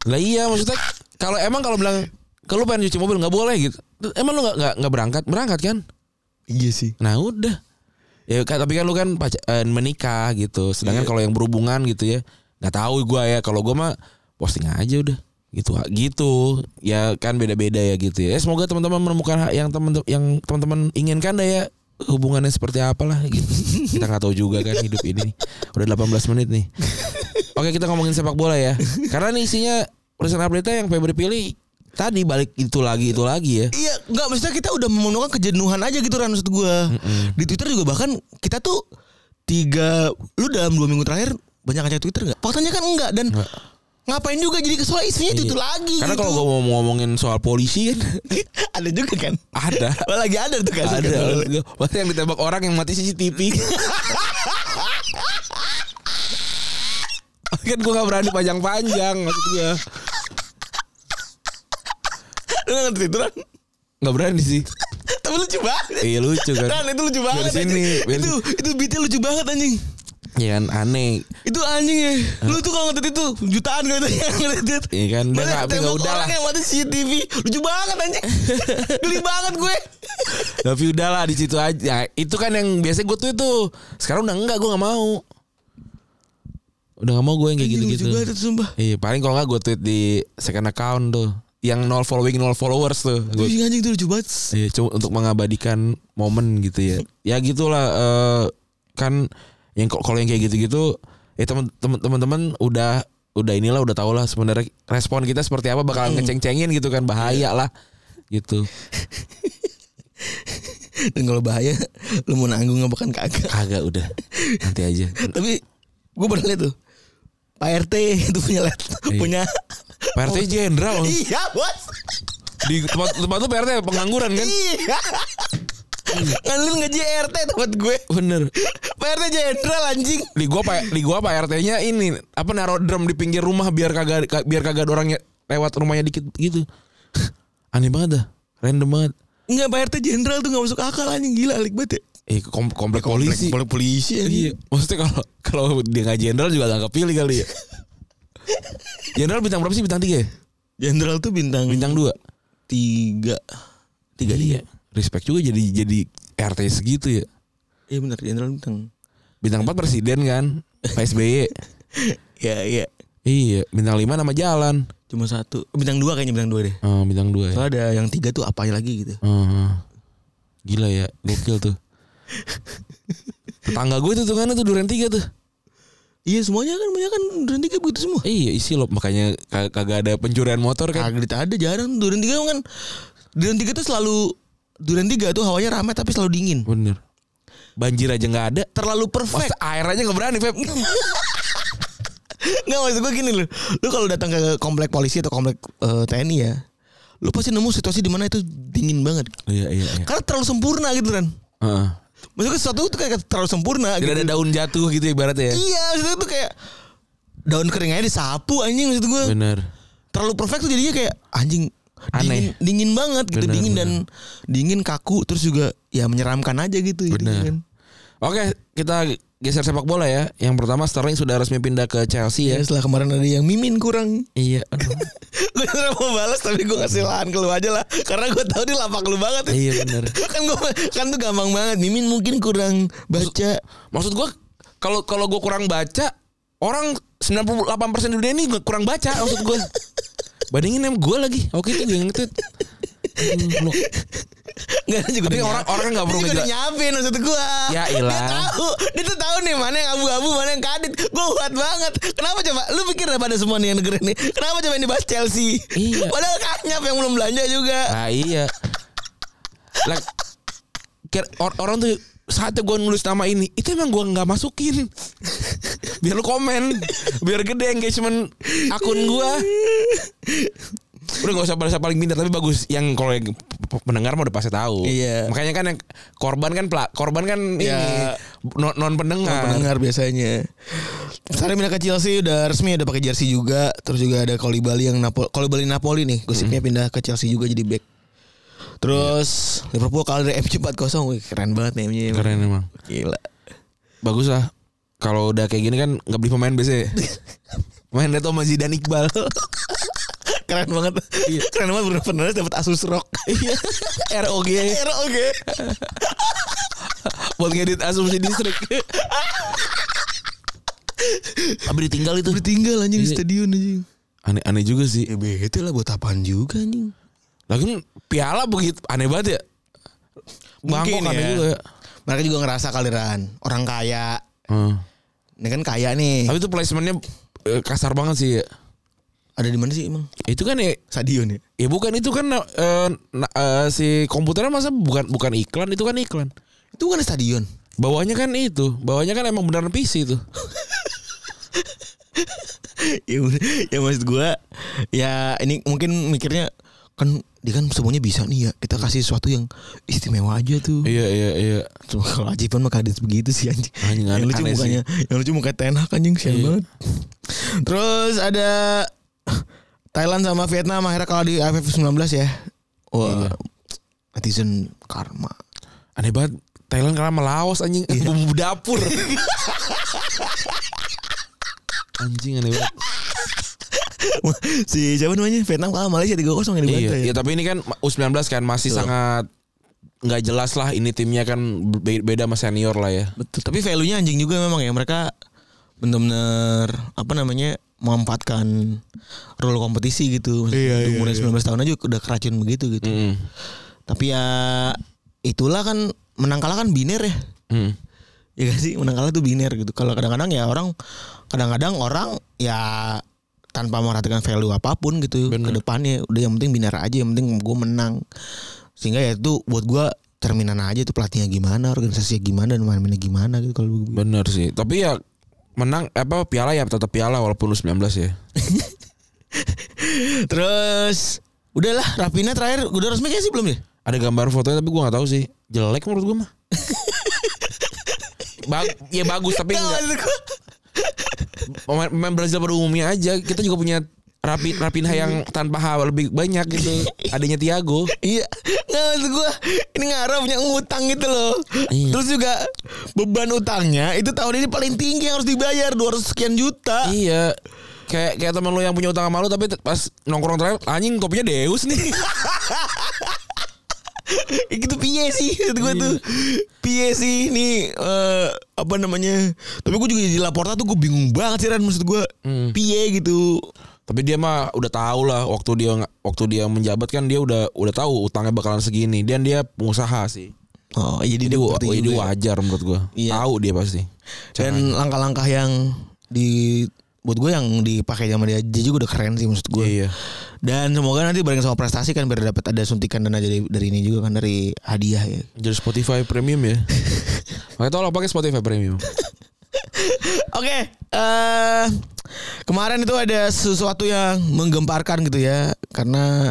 Lah iya maksudnya kalau emang kalau bilang kalau pengen cuci mobil nggak boleh gitu. Emang lu nggak nggak nggak berangkat? Berangkat kan?
iya sih.
Nah udah. Ya kan, tapi kan lu kan pac- eh, menikah gitu. Sedangkan kalau yang berhubungan gitu ya nggak tahu gua ya. Kalau gua mah posting aja udah gitu gitu ya kan beda-beda ya gitu ya Eh, semoga teman-teman menemukan hak yang teman yang teman-teman inginkan dah ya hubungannya seperti apalah gitu kita nggak tahu juga kan hidup ini nih. udah 18 menit nih oke kita ngomongin sepak bola ya karena nih isinya urusan update yang Febri pilih tadi balik itu lagi itu lagi ya
Iya, enggak maksudnya kita udah memenuhkan kejenuhan aja gitu Ran maksud gue. Di Twitter juga bahkan kita tuh tiga lu dalam dua minggu terakhir banyak aja Twitter nggak? Faktanya kan enggak dan Ngapain juga jadi kesel isinya itu,
Iya.
itu lagi
Karena
gitu.
kalau gue mau ngomongin soal polisi kan
ada juga kan.
ada.
Wah, lagi ada tuh kan.
ada. Masa yang ditembak orang yang mati CCTV. kan gue gak berani panjang-panjang maksud gue.
Lu ngerti itu kan?
Gak berani sih.
Tapi lucu banget.
Iya lucu
Ran
kan.
itu lucu banget.
Dari sini,
anjing.
dari
Itu itu beatnya lucu banget anjing.
Iya kan aneh.
Itu anjing ya. Lu tuh kalau ngetit itu jutaan gitu ya, kali tadi yang ngetit.
Iya kan, udah
Mana
nggak- tapi
tembok
nggak udah
orang
lah.
yang mati CCTV. Lucu banget anjing. Geli banget gue.
Tapi udahlah di situ aja. Ya, itu kan yang biasa gue tuh itu. Sekarang udah enggak gue nggak mau. Udah nggak mau gue yang kayak gitu,
Anjing,
gitu-gitu.
Lucu banget itu, sumpah.
Iya paling kalau nggak gue tweet di second account tuh. Yang nol following nol followers tuh. Gua-
Anjing anjing itu lucu banget.
Iya, cuma untuk mengabadikan momen gitu ya. Ya gitulah eh, kan yang kalau yang kayak gitu-gitu ya teman teman-teman udah udah inilah udah tau lah sebenarnya respon kita seperti apa
Hmm.
bakalan ngeceng-cengin gitu kan bahaya lah gitu.
Dan kalau bahaya lu mau nanggung apa kan kagak.
Kagak udah nanti aja.
Tapi gue pernah liat tuh. Pak RT itu punya let,
Iya.
punya
Pak RT jenderal
Iya, Bos.
di tempat tempat tuh PRT pengangguran kan?
Iya. Ngalin gaji RT tempat gue.
Bener.
Pak RT jenderal anjing.
Di gua Pak di gua Pak RT-nya ini apa naruh drum di pinggir rumah biar kagak ka- biar kagak ada orangnya lewat rumahnya dikit gitu. Aneh banget dah. Random banget.
Enggak Pak RT jenderal tuh gak masuk akal anjing gila alik banget ya.
Eh kom- komplek, polisi.
Komplek polisi anjing.
Iya. Maksudnya kalau kalau dia nggak jenderal juga nggak kepilih kali ya. jenderal bintang berapa sih bintang tiga ya?
Jenderal tuh bintang
Bintang dua.
tiga.
Tiga dia. Respect juga jadi jadi RT segitu ya.
Iya benar jenderal bintang.
Bintang empat presiden kan. Pak SBY.
Ya iya.
iya. Bintang lima nama jalan.
Cuma satu. Eh, Bintang dua kayaknya bintang dua deh.
Oh, bintang dua ya.
Soalnya ada yang tiga tuh apanya lagi gitu.
Heeh. Gila ya, gokil tuh. Tetangga gue tuh tuh kan tuh duren tiga tuh.
Iya semuanya kan banyak kan duren tiga begitu semua.
Iya isi loh makanya kag- kagak ada pencurian motor kan.
Kagak ada jarang duren tiga kan. Duren tiga tuh selalu duren tiga tuh hawanya ramai tapi selalu dingin.
Bener. Banjir aja nggak ada.
Terlalu perfect.
Masa air aja nggak berani, Feb.
Nggak maksud gue gini loh. Lu kalau datang ke komplek polisi atau komplek eh, TNI ya, lu pasti nemu situasi di mana itu dingin banget.
iya iya. iya.
Karena terlalu sempurna gitu kan.
Heeh.
Maksudnya sesuatu itu kayak terlalu sempurna.
Tidak
gitu.
ada daun jatuh gitu ibaratnya ya.
Iya, maksudnya itu kayak daun kering aja disapu anjing maksud gue.
Bener.
Terlalu perfect tuh jadinya kayak anjing
Aneh.
Dingin, dingin banget gitu
Bener,
dingin
bener.
dan dingin kaku terus juga ya menyeramkan aja gitu
Bener.
jadinya kan.
Oke, kita geser sepak bola ya. Yang pertama Sterling sudah resmi pindah ke Chelsea
Ya
ya.
setelah kemarin ada yang mimin kurang
Iya. aduh.
Gue sebenernya mau balas tapi gue ngasih lahan ke lu aja lah Karena gue tahu dia lapak lu banget
iya bener.
kan gue kan tuh gampang banget mimin mungkin kurang baca
Maksud gua kalau kalau gua kurang baca orang 98% dunia ini gua kurang baca maksud gua. Bandingin sama gua lagi. Oke itu yang ngetit.
nggak ada juga
Tapi
udah
orang-
nyap-
orang nggak perlu
Dia juga udah
ngejela-
nyapin maksud gue
Ya
dia
ilah.
tahu dia tuh tahu nih mana yang abu-abu mana yang kadit gue kuat banget kenapa coba lu pikir daripada semua nih yang negeri ini kenapa coba ini bahas Chelsea
Iya.
padahal kanyap yang belum belanja juga
Nah iya. Like, kira- or- orang tuh saatnya gua nulis nama ini itu emang gua nggak masukin biar lu komen biar gede engagement akun gua udah nggak usah bahasa paling pintar tapi bagus yang kalau yang p- pendengar mau udah pasti tahu
Iya.
makanya kan yang korban kan pla- korban kan
Ya.
ini non, non pendengar
pendengar biasanya. Sari pindah ke Chelsea udah resmi ada pakai jersey juga. Terus juga ada Kolibali yang Napoli, Kolibali Napoli nih. Gosipnya pindah ke Chelsea juga jadi back. Terus Liverpool kalah dari FC 4-0. Wih, Iya. keren banget nih
keren emang
Gila.
bagus lah kalau udah kayak gini kan nggak beli pemain biasanya main Reto sama Zidane Iqbal
Keren banget. Keren banget Bruno Fernandes dapat Asus ROG.
ROG
ROG.
buat ngedit asumsi distrik tapi ditinggal itu
Ditinggal anjing di stadion anjing.
aneh aneh juga sih
Ya bete lah buat apaan juga anjing.
lagi piala begitu aneh banget ya
Mungkin
Bangkok aneh
ya.
juga ya
Mereka juga ngerasa kaliran orang kaya.
Hmm.
Ini kan kaya nih.
tapi itu placementnya eh, kasar banget sih ya.
Ada di mana sih emang?
itu kan ya
Stadion ya.
ya bukan itu kan eh, na- eh, si komputernya masa bukan bukan iklan itu kan iklan
Itu bukan stadion.
bawahnya kan itu bawahnya kan emang beneran PC itu
ya, udah. ya maksud gue ya ini mungkin mikirnya kan dia kan semuanya bisa nih ya kita kasih sesuatu yang istimewa aja tuh
iya iya iya
Cuma kalau Ajipan mah kadis begitu sih anjing.
Anjing,
yang
aneh-
lucu
aneh sih.
mukanya, yang lucu muka Ten Hag anjing sian
Iya.
banget. Terus ada Thailand sama Vietnam akhirnya kalau di AFF 19 ya. Wah.
Iya.
Netizen karma.
aneh banget Thailand kalah sama Laos anjing bumbu dapur anjing aneh banget
si siapa namanya? Vietnam kalah Malaysia 3-0 yang di ya?
iya,
Bantai.
iya, tapi ini kan U19 kan masih
Betul.
sangat nggak jelas lah ini timnya kan be- beda sama senior lah ya
Betul. Tapi value-nya anjing juga memang ya mereka bener-bener apa namanya memanfaatkan rule kompetisi gitu.
Iya, iya,
Umurnya
iya.
19 tahun aja udah keracun begitu gitu.
Mm-mm.
Tapi ya itulah kan menang kalah kan biner ya.
Mm.
Ya gak sih menang kalah tuh biner gitu. Kalau kadang-kadang ya orang kadang-kadang orang ya tanpa merhatikan value apapun gitu ke
Bener.
depannya udah yang penting biner aja yang penting gue menang sehingga ya itu buat gua cerminan aja tuh pelatihnya gimana organisasinya gimana dan main-mainnya gimana gitu kalau gua-
bener sih tapi ya menang apa piala ya tetap piala walaupun U19 ya
terus udahlah Rapina terakhir udah resmi kayak sih belum ya
ada gambar fotonya tapi gue nggak tahu sih jelek menurut gue mah Bag- ya bagus tapi enggak pemain, pemain Brazil pada umumnya aja kita juga punya Rapin Rapinha yang tanpa hal lebih banyak gitu adanya Tiago
Iya, nggak maksud gue ini ngarep punya ngutang gitu loh.
Iya.
Terus juga beban utangnya itu tahun ini paling tinggi yang harus dibayar 200 sekian juta.
iya kayak kayak teman lu yang punya utang sama lu tapi te- pas nongkrong terakhir anjing kopinya Deus nih
itu piye sih kata
Iya.
gue tuh. Piye sih ini eh, apa namanya? Tapi gue juga jadi Laporta tuh gue bingung banget sih Ran maksud gue.
Hmm.
Piye gitu.
tapi dia mah udah tahu lah waktu dia nggak- waktu dia menjabat kan dia udah udah tahu utangnya bakalan segini dan dia pengusaha sih
Oh, jadi
jadi, ya?
dia
wa-
ngerti
jadi
juga.
wajar menurut gua
Iya.
tahu dia pasti Eh,
Dan langkah-langkah yang di buat gue yang dipakai sama dia dia juga udah keren sih maksud gue.
iya
Dan semoga nanti bareng sama prestasi kan biar dapat ada suntikan dana dari dari ini juga kan dari hadiah ya.
jadi Spotify Premium ya makanya tolong pakai Spotify Premium
Oke, eh, kemarin itu ada sesuatu yang menggemparkan gitu ya karena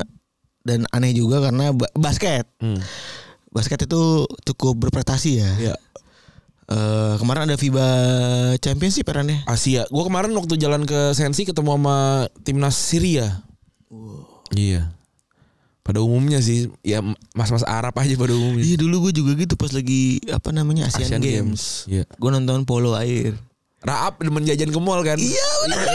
dan aneh juga karena ba- basket.
hmm.
Basket itu cukup berprestasi ya.
ya
Eh, kemarin ada FIBA Championship ya, perannya.
Asia. Gue kemarin waktu jalan ke Sensi ketemu sama timnas Syria. Iya. Pada umumnya sih, ya mas-mas Arab aja pada umumnya.
Iya dulu gue juga gitu pas lagi apa namanya Asian,
Asian
Games.
Games. Iya.
Gue nonton polo air.
Raab demen jajan ke mall kan? Iya.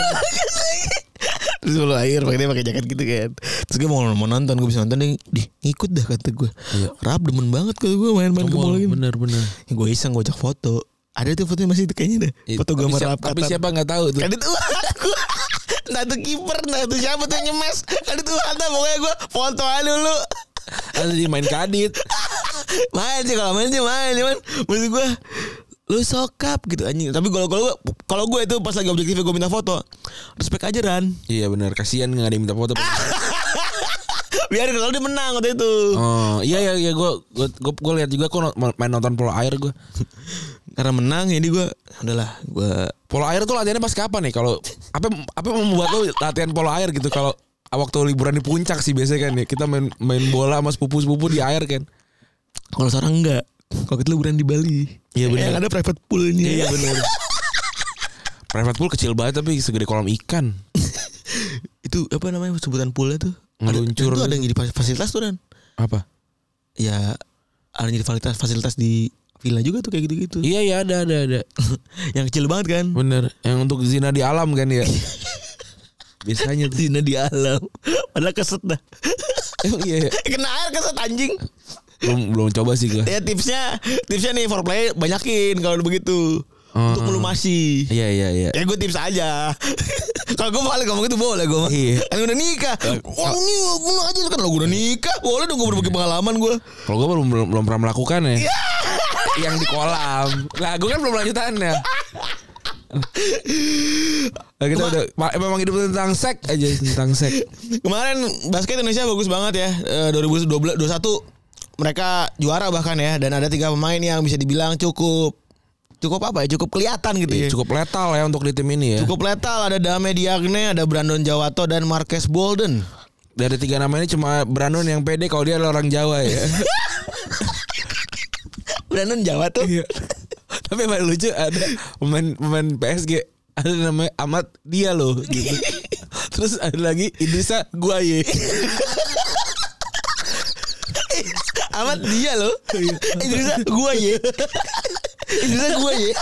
Terus polo air pakai dia pakai jaket gitu kan. Terus gue mau, mau nonton gue bisa nonton dia dih ngikut dah kata gue.
Iya.
Rap demen banget kata gue main-main ke mall gitu.
bener bener.
Ya, gue iseng gue ajak foto. Ada tuh fotonya masih itu kayaknya deh.
Iya,
Foto
tapi
gambar
siapa-
Raab
Tapi
Qatar.
siapa nggak tahu tuh?
Kan itu gue. Entah itu Nah, kiper, entah itu siapa tuh yang nyemes. Kan itu ada pokoknya gue foto aja dulu.
Ada di main kadit.
main sih kalau main sih main cuman maksud gue lu sokap gitu anjing tapi kalau kalau gue kalau gue itu pas lagi objektifnya gue minta foto respect aja Ran
Iya bener. Kasian nggak ada yang minta foto.
Ah! biar kalau dia menang waktu itu
oh iya iya iya gue gue gue lihat juga kok no- main nonton polo air gue.
karena menang jadi gue udahlah gue
Polo air tuh latihannya pas kapan nih? Kalau apa apa yang membuat lo latihan polo air gitu? Kalau waktu liburan di puncak sih biasanya kan ya kita main main bola sama sepupu-sepupu di air kan.
kalau sekarang enggak kalau kita liburan di Bali
Iya, bener.
yang ada private poolnya
benar. Iya, Private pool kecil banget tapi segede kolam ikan.
itu apa namanya sebutan poolnya tuh Ada-
Ngeluncur.
itu ada yang jadi fas- fasilitas tuh Ran
Apa?
ya ada yang jadi fasilitas fasilitas di villa juga tuh kayak gitu gitu
Iya iya ada ada ada.
yang kecil banget kan
Bener. Yang untuk zina di alam kan ya.
biasanya zina di alam padahal keset dah
Emang iya. ya?
kena air keset anjing
Belum belum coba sih gue.
ya tipsnya tipsnya nih foreplay banyakin kalau begitu untuk
Hmm.
melumasi
Iya iya iya.
ya gue tips aja kalau gue paling ngomong itu boleh gue
Iya. Iya.
kan udah nikah wah ini bunuh aja kan lo udah nikah boleh dong gue berbagi pengalaman gue
Kalau gue belum belum belum pernah melakukan ya. yang di kolam. Lah gue kan belum lanjutannya. Nah, kita udah ma- memang hidup tentang sek aja tentang sek.
kemarin basket Indonesia bagus banget ya Eh, 2012 21 mereka juara bahkan ya dan ada tiga pemain yang bisa dibilang cukup cukup apa ya? Cukup kelihatan gitu ya.
Iya, cukup letal ya untuk di tim ini ya.
Cukup letal ada Dame Diagne, ada Brandon Jawato dan Marquez Bolden.
Dari tiga nama ini cuma Brandon yang pede kalau dia adalah orang Jawa ya.
Brandon Jawato.
Tapi yang paling lucu ada pemain pemain PSG ada namanya Amat dia loh gitu. Terus ada lagi Idrisa
Iya.
Guaye.
Amat dia loh. Idrisa gua ye. Idrisa gua ye.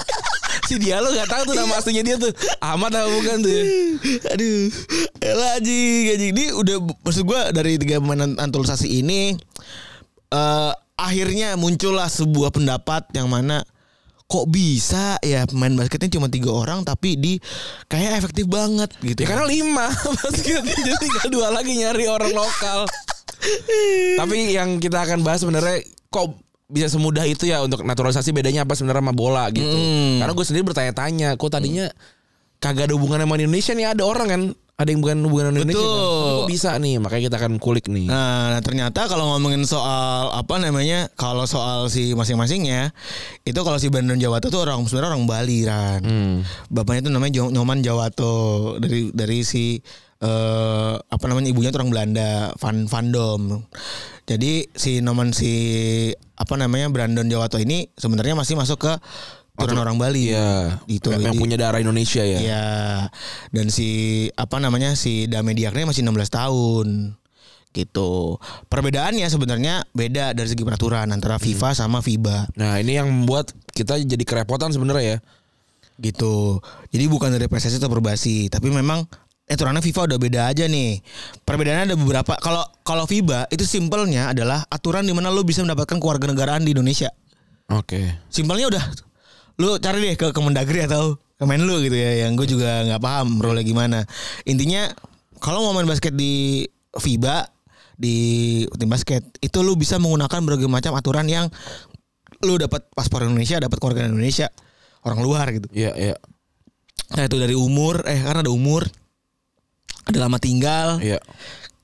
si dia lo gak tahu tuh nama aslinya dia tuh. Amat apa bukan tuh? ya?
Aduh. Elah anjing, anjing. Ini udah maksud gua dari tiga pemain naturalisasi ini eh akhirnya muncullah sebuah pendapat yang mana kok bisa ya pemain basketnya cuma tiga orang tapi di kayak efektif banget gitu
Ya karena lima basket jadi tinggal dua lagi nyari orang lokal. Tapi yang kita akan bahas sebenarnya kok bisa semudah itu ya untuk naturalisasi bedanya apa sebenarnya sama bola gitu.
Hmm.
Karena gue sendiri bertanya-tanya, kok tadinya kagak ada hubungan sama Indonesia nih ada orang kan, ada yang bukan hubungan sama Indonesia. kan?
Betul.
Kok bisa nih, makanya kita akan kulik nih.
Nah, nah, ternyata kalau ngomongin soal apa namanya, kalau soal si masing-masingnya, itu kalau si Brandon Jawato tuh orang sebenarnya orang Bali kan.
Hmm.
Bapaknya tuh namanya Jo- Nyoman Jawato dari dari si eh apa namanya ibunya tuh orang Belanda, Van Vandom. Jadi si Noman si apa namanya Brandon Jawato ini sebenarnya masih masuk ke turun orang Bali.
Iya,
Itu
yang
Gitu. jadi-
punya darah Indonesia ya.
Iya. Dan si apa namanya si Dame Diagne masih 16 tahun. Gitu. Perbedaannya sebenarnya beda dari segi peraturan antara FIFA sama FIBA
Nah, ini yang membuat kita jadi kerepotan sebenarnya ya.
gitu. Jadi bukan dari PSSI atau Perbasi, tapi memang aturannya FIFA udah beda aja nih. Perbedaannya ada beberapa. Kalau kalau FIBA itu simpelnya adalah aturan di mana lo bisa mendapatkan kewarganegaraan di Indonesia.
Oke.
Simpelnya udah lu cari deh ke Kemendagri atau kemen lu gitu ya yang gue juga nggak paham role gimana intinya kalau mau main basket di FIBA di tim basket itu lu bisa menggunakan berbagai macam aturan yang lu dapat paspor Indonesia dapat keluarga Indonesia orang luar gitu
Iya, iya.
nah itu dari umur eh karena ada umur ada lama tinggal
Iya.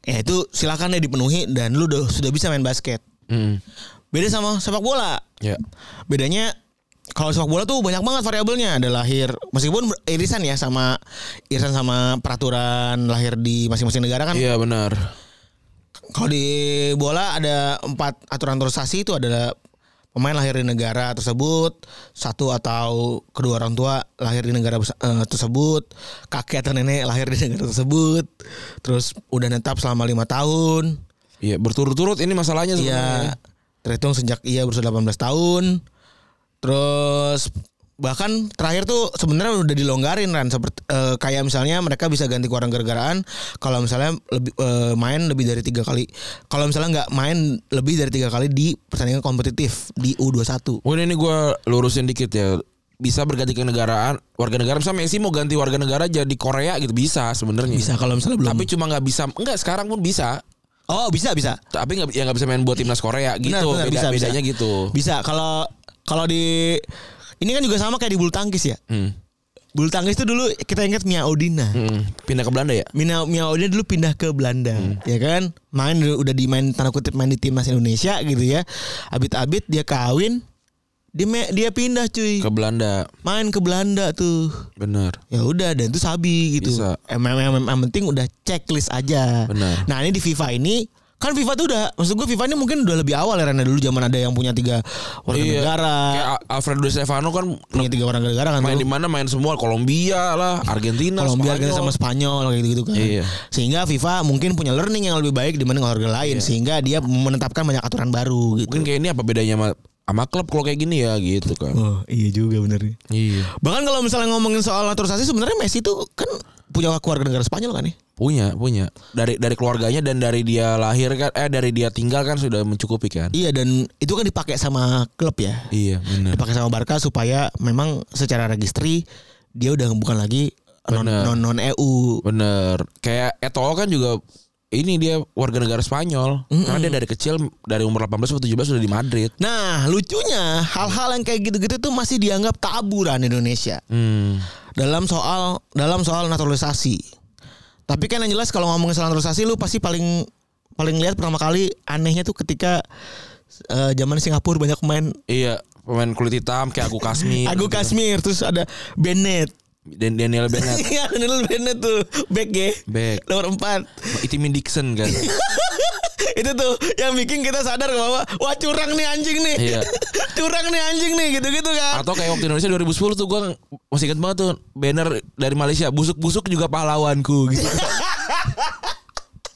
ya itu silakan deh dipenuhi dan lu udah, sudah bisa main basket
Mm.
beda sama sepak bola
Iya.
bedanya kalau sepak bola tuh banyak banget variabelnya ada lahir meskipun ber- irisan ya sama irisan sama peraturan lahir di masing-masing negara kan
Iya, benar.
kalau di bola ada empat aturan naturalisasi itu adalah pemain lahir di negara tersebut satu atau kedua orang tua lahir di negara bes- eh, tersebut kakek atau nenek lahir di negara tersebut terus udah netap selama lima tahun
Iya, berturut-turut ini masalahnya
Iya.
sebenarnya.
Terhitung sejak ia berusia 18 tahun. Terus bahkan terakhir tuh sebenarnya udah dilonggarin kan seperti eh, kayak misalnya mereka bisa ganti keluaran gara-garaan kalau misalnya lebih eh, main lebih dari tiga kali kalau misalnya nggak main lebih dari tiga kali di pertandingan kompetitif di U21
Mungkin ini gue lurusin dikit ya. Bisa berganti kenegaraan, warga negara. Misalnya Messi mau ganti warga negara jadi Korea gitu bisa sebenarnya.
bisa kalau misalnya belum
Tapi cuma nggak bisa. Enggak sekarang pun bisa.
oh bisa bisa
Tapi nggak ya nggak bisa main buat timnas Korea gitu.
Benar, benar, bisa,
Beda-
bisa.
bedanya gitu.
bisa kalau kalau di ini kan juga sama kayak di bulu tangkis ya
Hmm.
bulu tangkis tuh dulu kita ingat Mia Odina
Hmm. Pindah ke Belanda ya.
Mina Miaonya dulu pindah ke Belanda,
Hmm.
ya kan? Main udah dimain tanda kutip main di timnas Indonesia gitu ya. Abit-abit dia kawin, dia me- dia pindah cuy.
Ke Belanda.
main ke Belanda tuh.
Bener.
Ya udah dan itu sabi gitu.
Bisa.
Emang emang- emang- yang penting udah checklist aja.
Benar.
Nah, ini di FIFA ini kan FIFA tuh udah maksud gue FIFA ini mungkin udah lebih awal ya Rana dulu zaman ada yang punya tiga warga
Iya.
negara.
Kayak Al- Alfredo Stefano kan
Punya tiga warga negara kan.
main
tuh.
di mana main semua Kolombia lah, Argentina,
Kolombia
Spanyol.
Argentina sama Nah, Spanyol gitu gitu kan.
Iya.
Sehingga FIFA mungkin punya learning yang lebih baik dibanding olahraga lain sehingga dia menetapkan banyak aturan baru gitu.
Iya. Mungkin kayak ini apa bedanya sama, sama klub kalau kayak gini ya gitu kan.
Oh, iya juga bener.
Iya.
Bahkan kalau misalnya ngomongin soal naturalisasi sebenarnya Messi tuh kan punya keluarga negara Spanyol kan ya?
Punya, punya. Dari dari keluarganya dan dari dia lahir kan eh dari dia tinggal kan sudah mencukupi kan.
Iya dan itu kan dipakai sama klub ya.
Iya, benar.
Dipakai sama Barca supaya memang secara registri dia udah bukan lagi non
Bener.
non, E non EU.
Bener. Kayak Eto'o kan juga ini dia warga negara Spanyol. Karena dia dari kecil dari umur 18 atau 17 sudah di Madrid.
Nah, lucunya hal-hal yang kayak gitu-gitu tuh masih dianggap taburan Indonesia.
Hmm.
dalam soal dalam soal naturalisasi. Tapi kan yang jelas kalau ngomongin soal naturalisasi lu pasti paling paling lihat pertama kali anehnya tuh ketika eh, zaman Singapura banyak main
Iya, pemain kulit hitam kayak Agu Kasmir.
Agu Kasmir terus ada Bennett.
Dan Daniel Bennett.
Iya, Daniel Bennett tuh back ya.
Back.
Nomor 4.
Itimin Dixon kan.
itu tuh yang bikin kita sadar bahwa wah curang nih anjing nih.
Iya.
curang nih anjing nih gitu-gitu kan.
Atau kayak waktu Indonesia 2010 tuh gue masih ingat banget tuh banner dari Malaysia busuk-busuk juga pahlawanku gitu.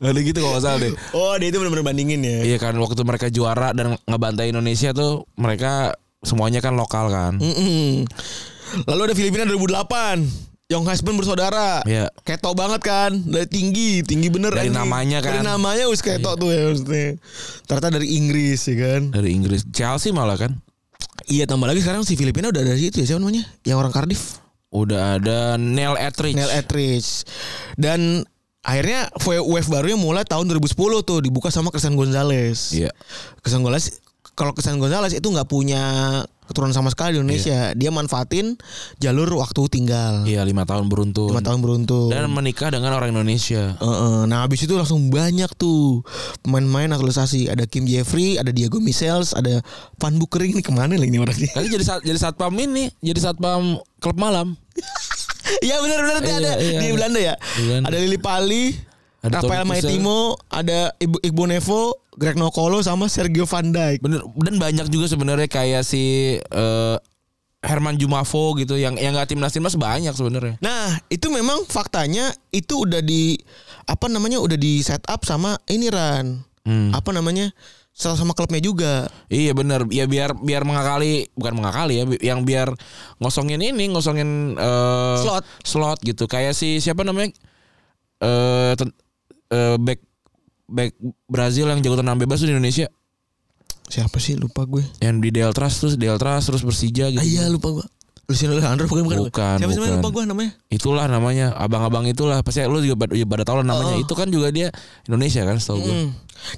Ada gitu kalau nggak salah deh.
Oh, dia itu benar-benar bandingin ya.
Iya kan waktu mereka juara dan ngebantai Indonesia tuh mereka semuanya kan lokal kan.
Mm-mm. Lalu ada Filipina 2008. Young Husband bersaudara.
Iya.
Keto banget kan. Dari tinggi, tinggi bener
Dari
anjing.
namanya kan.
Dari namanya us keto tuh ya maksudnya. Ternyata dari Inggris ya kan.
Dari Inggris Chelsea malah kan.
Iya, tambah lagi sekarang si Filipina udah ada situ ya siapa namanya? Yang orang Cardiff.
Udah ada Neil Etrich.
Neil Etrich. Dan akhirnya wave barunya mulai tahun 2010 tuh dibuka sama Christian Gonzalez.
Iya.
Christian Gonzalez kalau Christian Gonzalez itu nggak punya keturunan sama sekali di Indonesia. Dia manfaatin jalur waktu tinggal.
Iya lima tahun beruntun.
Lima tahun beruntun.
Dan menikah dengan orang Indonesia.
Heeh. Nah habis itu langsung banyak tuh pemain-pemain naturalisasi. Ada Kim Jeffrey, ada Diego Michels, ada Van Bukering nih kemana lagi nih orang ini?
Kali jadi sat- jadi satpam ini, jadi satpam klub malam.
Iya benar-benar tuh
Iya,
ada
iya,
di
ada.
Belanda ya.
Di Belanda.
Ada Lili Pali,
Ada
Rafael
Toni Kuzel.
Maitimo, ada Ibu Igbo Nevo, Greg Nokolo sama Sergio Van Dijk.
Bener dan banyak juga sebenarnya kayak si eh, Herman Jumavo gitu yang yang nggak timnas timnas banyak sebenarnya.
Nah, itu memang faktanya itu udah di apa namanya udah di set up sama ini Ran.
Hmm.
Apa namanya? Sama sama klubnya juga.
Iya bener ya biar biar mengakali bukan mengakali ya bi- yang biar ngosongin ini ngosongin eh,
Slot.
slot gitu kayak si siapa namanya eh ten- eh, back back Brazil yang jago tenang bebas tuh di Indonesia
Siapa sih lupa gue?
yang di Deltras terus Deltras terus Persija gitu.
Ah, iya lupa gue. Luciano Alejandro bukan bukan.
Bukan,
Siapa sih namanya?
bukan.
lupa gue namanya?
Itulah namanya abang-abang itulah pasti lu juga pada, pada tahu lah namanya itu kan juga dia Indonesia kan setahu gue.
Oh. Hmm.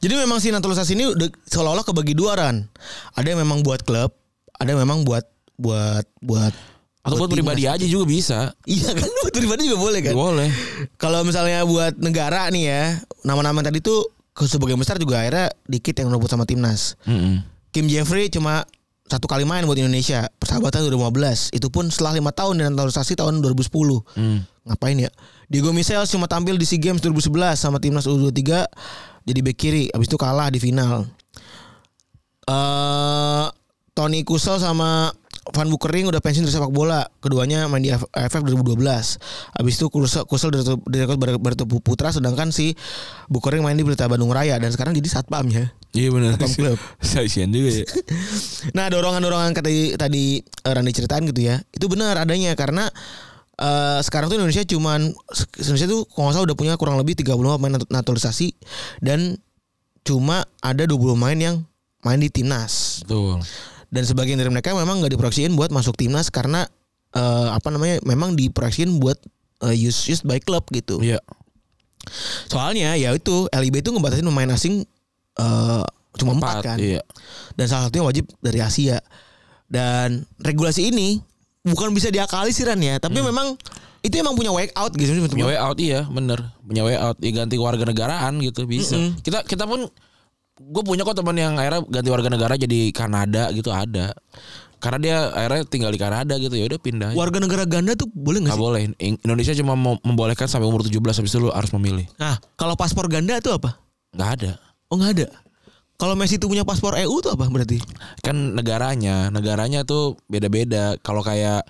Jadi memang si naturalisasi ini udah seolah-olah kebagi dua ran. Ada yang memang buat klub, ada yang memang buat buat buat
Atau buat
timnas.
pribadi aja juga bisa.
Iya kan buat pribadi juga boleh kan.
Boleh.
Kalau misalnya buat negara nih ya, nama-nama tadi tuh ke sebagian besar juga akhirnya dikit yang nurut sama timnas.
Mm-mm.
Kim Jeffrey cuma satu kali main buat Indonesia persahabatan 2015 itu pun setelah lima tahun dan naturalisasi tahun 2010
Mm.
ngapain ya Diego Michel cuma tampil di SEA Games 2011 sama timnas U23 jadi bek kiri habis itu kalah di final eh Tony Kusel sama Van Bukering udah pensiun dari sepak bola keduanya main di F- AFF 2012 habis itu Kusel, Kusel direkrut- direkrut Bar- Barito Putra sedangkan si Bukering main di Pelita Bandung Raya dan sekarang jadi satpam ya
Iya benar.
Satpam klub.
Kasihan juga ya.
Nah dorongan-dorongan tadi tadi eh, Randy ceritain gitu ya Itu benar adanya karena eh, sekarang tuh Indonesia cuman Indonesia tuh kalau nggak salah udah punya kurang lebih 30 pemain nat- naturalisasi Dan cuma ada 20 pemain yang main di timnas
Betul.
Dan sebagian dari mereka memang nggak diproyeksiin buat masuk timnas Karena eh, apa namanya memang diproyeksiin buat eh, used, used by club gitu
Iya.
Soalnya ya itu LIB itu ngebatasin pemain asing eh, cuma empat
Empat,
kan
Iya.
dan salah satunya wajib dari Asia. Dan regulasi ini bukan bisa diakali sih Ran ya, tapi memang itu emang punya way out gitu menurut
Hmm. Punya
gue.
way out iya, bener. Punya way out, ya, ganti warga negaraan gitu bisa. Kita kita pun gue punya kok teman yang akhirnya ganti warga negara jadi Kanada gitu ada. Karena dia akhirnya tinggal di Kanada gitu ya udah pindah. aja.
Warga negara ganda tuh boleh nggak
Nggak
sih?
boleh. In- Indonesia cuma mem- membolehkan sampai umur 17 habis itu lu harus memilih.
Nah, kalau paspor ganda tuh apa?
Nggak ada.
Oh nggak ada. Kalau Messi tuh punya paspor EU tuh apa berarti?
Kan negaranya, negaranya tuh beda-beda. Kalau kayak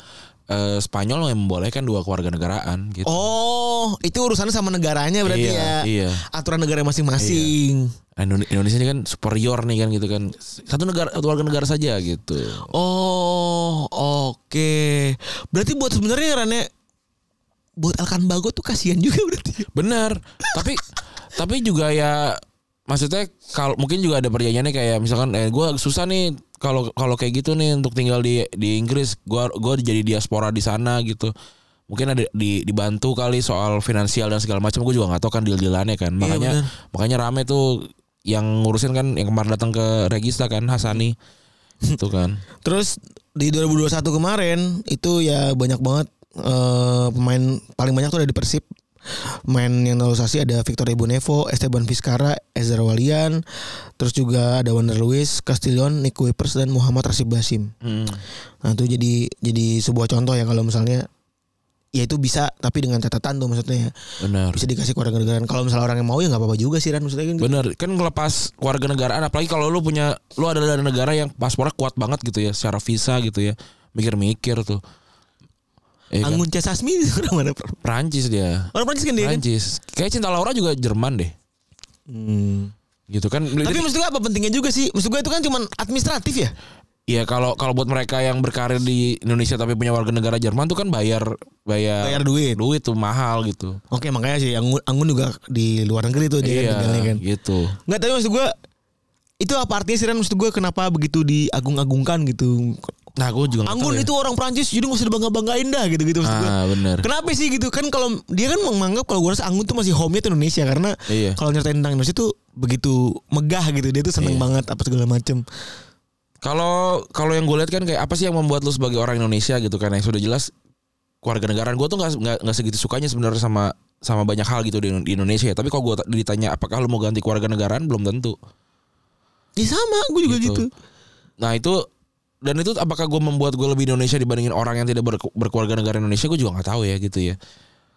eh, Spanyol yang membolehkan dua kewarganegaraan gitu.
Oh, itu urusannya sama negaranya berarti
Iya,
ya.
iya.
Aturan negara masing-masing.
Indone- Indonesia ini kan superior nih kan gitu kan. Satu negara satu warga negara saja gitu.
Oh, oke. Berarti buat sebenarnya Rane buat Alkan Bago tuh kasihan juga berarti.
Benar. tapi tapi juga ya maksudnya kalau mungkin juga ada perjanjiannya kayak misalkan eh gua susah nih kalau kalau kayak gitu nih untuk tinggal di di Inggris gua gua jadi diaspora di sana gitu. Mungkin ada di, dibantu kali soal finansial dan segala macam gua juga nggak tahu kan deal-dealannya kan. Makanya
benar.
makanya rame tuh yang ngurusin kan yang kemarin datang ke Regista kan Hasani. Itu kan.
Terus di 2021 kemarin itu ya banyak banget eh, pemain paling banyak tuh ada di Persib. main yang naturalisasi ada Victor Bonevo, Esteban Vizcarra, Ezra Walian, terus juga ada Wander Luis, Castillon, Nick Wipers dan Muhammad Rasib Basim.
Hmm.
Nah itu jadi jadi sebuah contoh ya kalau misalnya ya itu bisa tapi dengan catatan tuh maksudnya ya.
Benar.
bisa dikasih ke orang negaraan kalau misalnya orang yang mau ya nggak apa-apa juga sih Ran maksudnya kan
Bener kan ngelepas warga negaraan apalagi kalau lu punya lu ada dari negara yang paspornya kuat banget gitu ya secara visa gitu ya mikir-mikir tuh Iya kan?
Anggun C. Sasmi itu orang mana Prancis.
Prancis dia
orang Prancis kan dia kan
Prancis kayak cinta Laura juga Jerman deh gitu kan
tapi maksud gue apa pentingnya juga sih maksud gue itu kan cuman administratif ya
Iya kalau kalau buat mereka yang berkarir di Indonesia tapi punya warga negara Jerman tuh kan bayar bayar
Bayar duit.
duit tuh mahal gitu
oke makanya sih Anggun Anggun juga di luar negeri tuh dia kan
iya
tinggalnya kan
gitu
nggak tapi maksud gue itu apa artinya sih Ran maksud gue kenapa begitu diagung-agungkan gitu
nah gue juga nggak
Anggun
tahu ya.
itu orang Prancis jadi nggak usah dibangga-banggain dah gitu-gitu maksud gue
ah bener
Kenapa sih gitu kan kalau dia kan menganggap kalau gue rasa Anggun tuh masih home-nya tuh Indonesia karena
Iya.
kalau nyeritain tentang Indonesia tuh begitu megah gitu dia tuh seneng
Iya.
banget apa segala macem
Kalau kalau yang gue lihat kan kayak apa sih yang membuat lu sebagai orang Indonesia gitu kan yang sudah jelas keluarga negaraan gue tuh nggak nggak nggak segitu sukanya sebenarnya sama sama banyak hal gitu di, di Indonesia ya. Tapi kalau gue ditanya apakah lu mau ganti keluarga negaraan belum tentu.
Ya sama gue juga gitu.
Gitu. Nah itu dan itu apakah gue membuat gue lebih Indonesia dibandingin orang yang tidak berke- berkeluarga negara Indonesia gue juga nggak tahu ya gitu ya.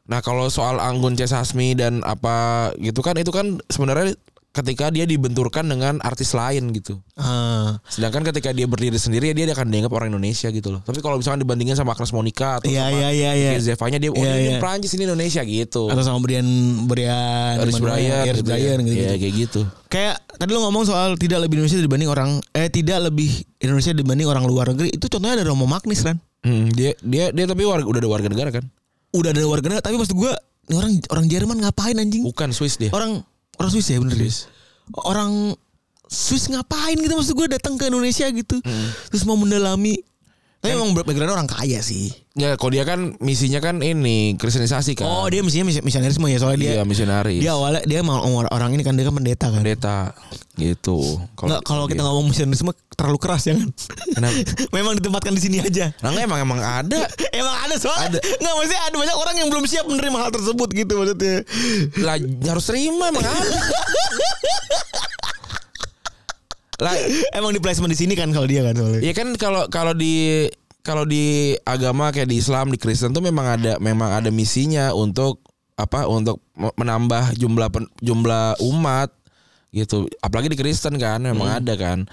Nah kalau soal Anggun C Sasmi dan apa gitu kan itu kan sebenarnya ketika dia dibenturkan dengan artis lain gitu.
Ah,
Sedangkan ketika dia berdiri sendiri dia akan dianggap orang Indonesia gitu loh. Tapi kalau misalkan dibandingin sama Agnes Monica atau
Iya
sama
iya iya iya.
Vicky Zevanya, dia oh
Iya,
ini
iya.
Prancis ini Indonesia gitu.
Atau sama Brian Brian
Aris
Emmanuel,
Brian,
Aris
gitu
Brian
ya.
gitu,
Iya,
gitu.
kayak gitu.
Kayak tadi lo ngomong soal tidak lebih Indonesia dibanding orang eh tidak lebih Indonesia dibanding orang luar negeri itu contohnya ada Romo Magnis kan.
Hmm, dia dia dia tapi warga, udah ada warga negara kan?
Udah ada warga negara tapi maksud gue ini orang orang Jerman ngapain anjing?
Bukan Swiss dia.
Orang orang Swiss ya bener ya?
Swiss.
Orang Swiss ngapain gitu maksud gue datang ke Indonesia gitu.
Hmm.
Terus mau mendalami. Tapi
Kan
emang background orang kaya sih.
Ya, kalau dia kan misinya kan ini kristenisasi kan.
Oh dia misinya mis- misionerisme ya soalnya dia
Iya, misionaris.
Dia awalnya dia mau orang orang ini kan dia kan pendeta kan.
pendeta gitu.
Nggak, kalau iya. kita
dia-
ngomong misionerisme terlalu keras ya kan.
Kenapa?
Memang ditempatkan di sini aja.
Nah, nggak, emang emang ada
Emang ada soalnya. Nggak maksudnya ada banyak orang yang belum siap menerima hal tersebut gitu maksudnya.
lah harus terima emang ada. lah
Emang di placement di sini kan kalau dia kan soalnya.
Ya kan kalau kalau di kalau di agama kayak di Islam di Kristen tuh memang ada memang ada misinya untuk apa untuk me- menambah jumlah pen- jumlah umat gitu. Apalagi di Kristen kan memang ada kan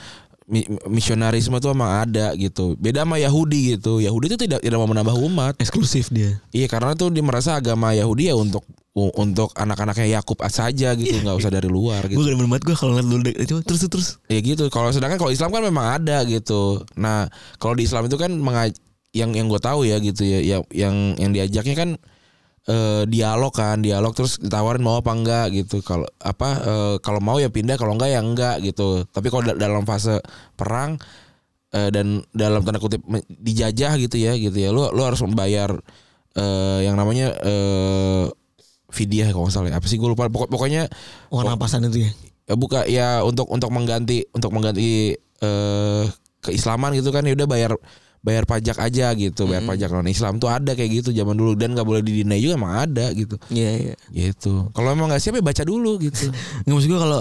Mi- misionarisme tuh memang ada gitu. Beda sama Yahudi gitu. Yahudi itu tidak tidak mau menambah umat.
Eksklusif dia.
Iya karena tuh dia merasa agama Yahudi ya untuk u- untuk anak-anaknya Yakub saja gitu nggak usah dari luar gitu.
Gue gak banget gue kalau ngeliat dulu deh. Cuma terus terus.
Ya gitu. Kalau sedangkan kalau Islam kan memang ada gitu. Nah, kalau di Islam itu kan mengaj- yang yang gue tahu ya gitu ya, ya- yang yang diajaknya kan eh, dialog kan, dialog terus ditawarin mau apa enggak gitu. Kalau apa eh, kalau mau ya pindah, kalau enggak ya enggak gitu. Tapi kalau da- dalam fase perang eh, dan dalam tanda kutip me- dijajah gitu ya gitu ya. Lu lu harus membayar eh, yang namanya eh fidyah kalau nggak salah ya. apa sih gue lupa Pokok- pokoknya
Orang napasan itu ya.
ya buka ya untuk untuk mengganti untuk mengganti eh keislaman gitu kan ya udah bayar bayar pajak aja gitu bayar pajak non Islam tuh ada kayak gitu zaman dulu dan nggak boleh didinai juga emang ada gitu
Iya iya.
gitu kalau emang nggak siap ya baca dulu gitu
Nggak maksud gue kalau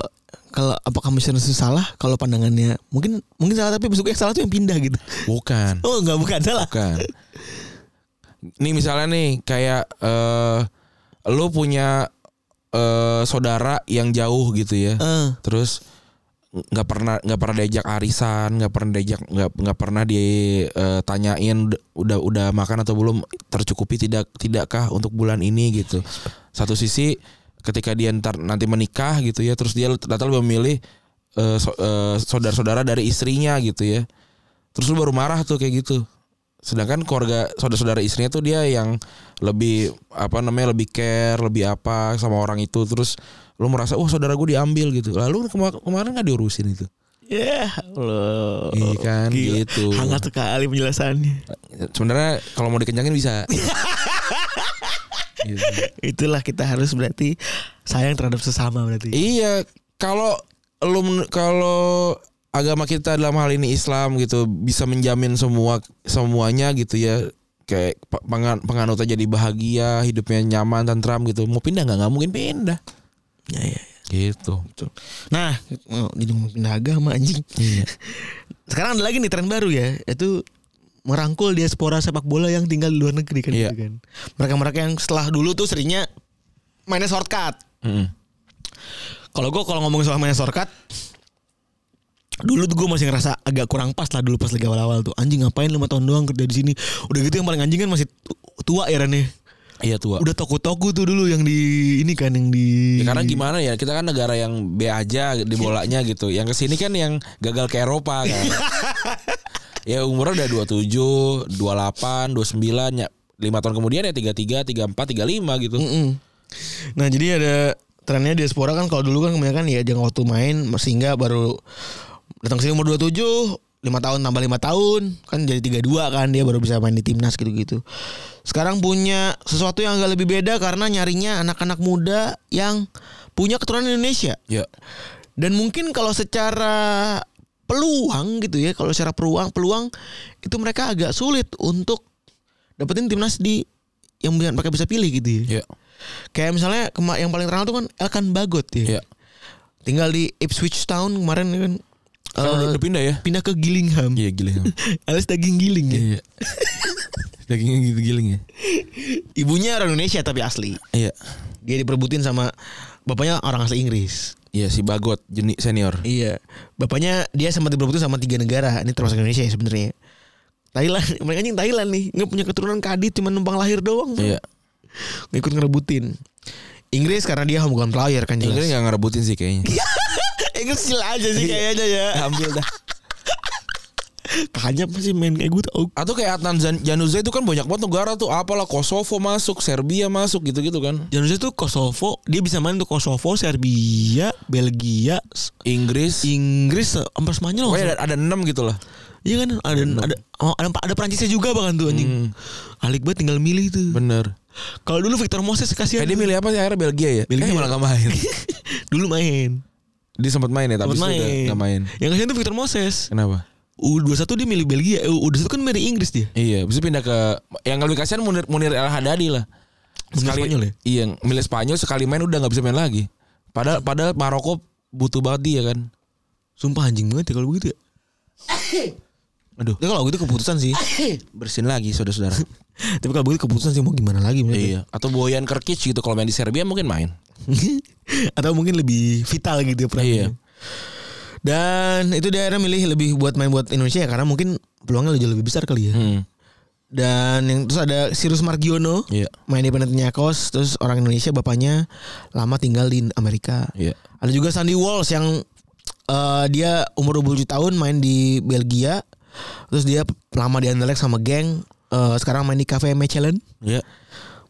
kalau apakah misioneris itu salah kalau pandangannya mungkin mungkin salah tapi maksud gue yang salah tuh yang pindah gitu.
bukan
Oh nggak bukan salah.
bukan nih misalnya nih kayak eh lu punya eh saudara yang jauh gitu ya
Eh.
terus nggak pernah nggak pernah diajak arisan nggak pernah diajak nggak nggak pernah ditanyain udah udah makan atau belum tercukupi tidak tidakkah untuk bulan ini gitu satu sisi ketika dia ntar nanti menikah gitu ya terus dia ternyata lebih memilih eh, so- eh, saudara-saudara dari istrinya gitu ya terus lu baru marah tuh kayak gitu sedangkan keluarga saudara-saudara istrinya tuh dia yang lebih apa namanya lebih care lebih apa sama orang itu terus lu merasa wah saudara gue diambil gitu lalu kema- kemarin nggak diurusin itu
Ya Allah.
Iya kan, gitu.
Hangat sekali penjelasannya.
sebenarnya kalau mau dikencangin bisa Gitu.
Itulah kita harus berarti sayang terhadap sesama berarti.
iya kalau lu men- kalau agama kita dalam hal ini Islam gitu bisa menjamin semua semuanya gitu ya kayak pe- pengan penganutnya jadi bahagia hidupnya nyaman tentram gitu mau pindah nggak nggak mungkin pindah
Ya, ya, ya.
gitu
Betul. Nah, oh, jadi ngomong pindah agama anjing. Sekarang ada lagi nih tren baru ya, itu merangkul diaspora sepak bola yang tinggal di luar negeri kan
Iya.
gitu kan. Mereka-mereka yang setelah dulu tuh seringnya mainnya shortcut.
Mm-mm.
Kalau gue kalau ngomongin soal mainnya shortcut Dulu tuh gue masih ngerasa agak kurang pas lah dulu pas lagi awal-awal tuh Anjing ngapain lima tahun doang kerja di sini Udah gitu yang paling anjing kan masih tu- tua ya Ran, ya.
iya tua
Udah toko-toko tuh dulu yang di ini kan yang di
Ya, karena gimana ya kita kan negara yang B aja di bolanya gitu. Yang kesini kan yang gagal ke Eropa kan. ya umurnya udah 27, 28, 29 ya 5 tahun kemudian ya 33, 34, 35 gitu.
Mm-mm. Nah jadi ada trennya diaspora kan kalau dulu kan kebanyakan ya jangan waktu main sehingga baru datang ke sini umur 27 5 tahun tambah 5 tahun kan jadi 32 kan dia baru bisa main di timnas gitu-gitu. Sekarang punya sesuatu yang agak lebih beda karena nyarinya anak-anak muda yang punya keturunan Indonesia.
Ya.
Dan mungkin kalau secara peluang gitu ya, kalau secara peluang peluang itu mereka agak sulit untuk dapetin timnas di yang mereka bisa pilih gitu ya.
Ya.
Kayak misalnya kema- yang paling terkenal tuh kan Elkan Bagot ya.
Ya.
Tinggal di Ipswich Town kemarin kan
Sekarang
eh,
udah, udah pindah ya.
pindah ke Gillingham.
Iya giling.
Alias daging giling ya.
Iya. Dagingnya gitu giling ya.
Ibunya orang Indonesia tapi asli.
Iya.
Dia diperbutin sama bapaknya orang asli Inggris.
Iya si Bagot jenis senior.
Iya. Bapaknya dia sempat diperbutin sama tiga negara. Ini termasuk Indonesia ya sebenarnya. Thailand, mereka anjing Thailand nih. Nggak punya keturunan kadit cuma numpang lahir doang. bro.
Iya.
Ngikut ngerebutin. Inggris karena dia bukan player kan jelas. Inggris,
Inggris nggak ngerebutin sih kayaknya.
gila aja sih kayaknya ya.
Ambil dah.
Kayaknya pasti main kayak gitu, gue tuh oke.
Atau kayak Adnan Zan- Januzaj itu kan banyak banget negara tuh apalah Kosovo masuk, Serbia masuk gitu-gitu kan.
Januzaj tuh Kosovo, dia bisa main tuh Kosovo, Serbia, Belgia, S-
Inggris.
Inggris, sampai Spanyol.
Pokoknya
maksudnya.
ada, ada 6 gitu lah.
Oh, Iya Hmm. kan ada ada oh, ada, ada Perancisnya juga bahkan tuh anjing. Alik banget tinggal milih tuh.
Bener.
Kalau dulu Victor Moses kasihan.
Eh dia milih apa sih akhirnya Belgia ya?
Belgia.
Eh, malah gak main.
dulu main.
dia sempat main ya tapi
Sempet
sudah gak main.
Yang kasihan tuh Victor Moses.
Kenapa?
U21 dia milih Belgia, eh, U21 kan milih Inggris dia.
Iya, bisa pindah ke yang lebih kasihan Munir, Munir El Hadadi lah.
Milih Spanyol ya?
Iya, milih Spanyol sekali main udah nggak bisa main lagi. Padahal padahal Maroko butuh banget dia kan.
Sumpah anjing banget ya kalau begitu ya.
Aduh,
Ya kalau gitu keputusan sih.
bersin lagi saudara-saudara.
Tapi kalau begitu keputusan sih mau gimana lagi maksudnya.
iya, atau Boyan Kerkic gitu kalau main di Serbia mungkin main.
Atau mungkin lebih vital gitu ya perannya.
Iya.
Dan itu daerah milih lebih buat main buat Indonesia ya karena mungkin peluangnya jauh lebih besar kali ya.
Hmm.
Dan yang terus ada Sirus Margiono.
Iya.
Main di Panathinaikos terus orang Indonesia bapaknya lama tinggal di Amerika.
Iya.
Ada juga Sandy Walsh yang eh, dia umur 27 tahun main di Belgia. Terus dia lama di Anderlecht sama geng eh, sekarang main di Cafe Mechelen.
Iya.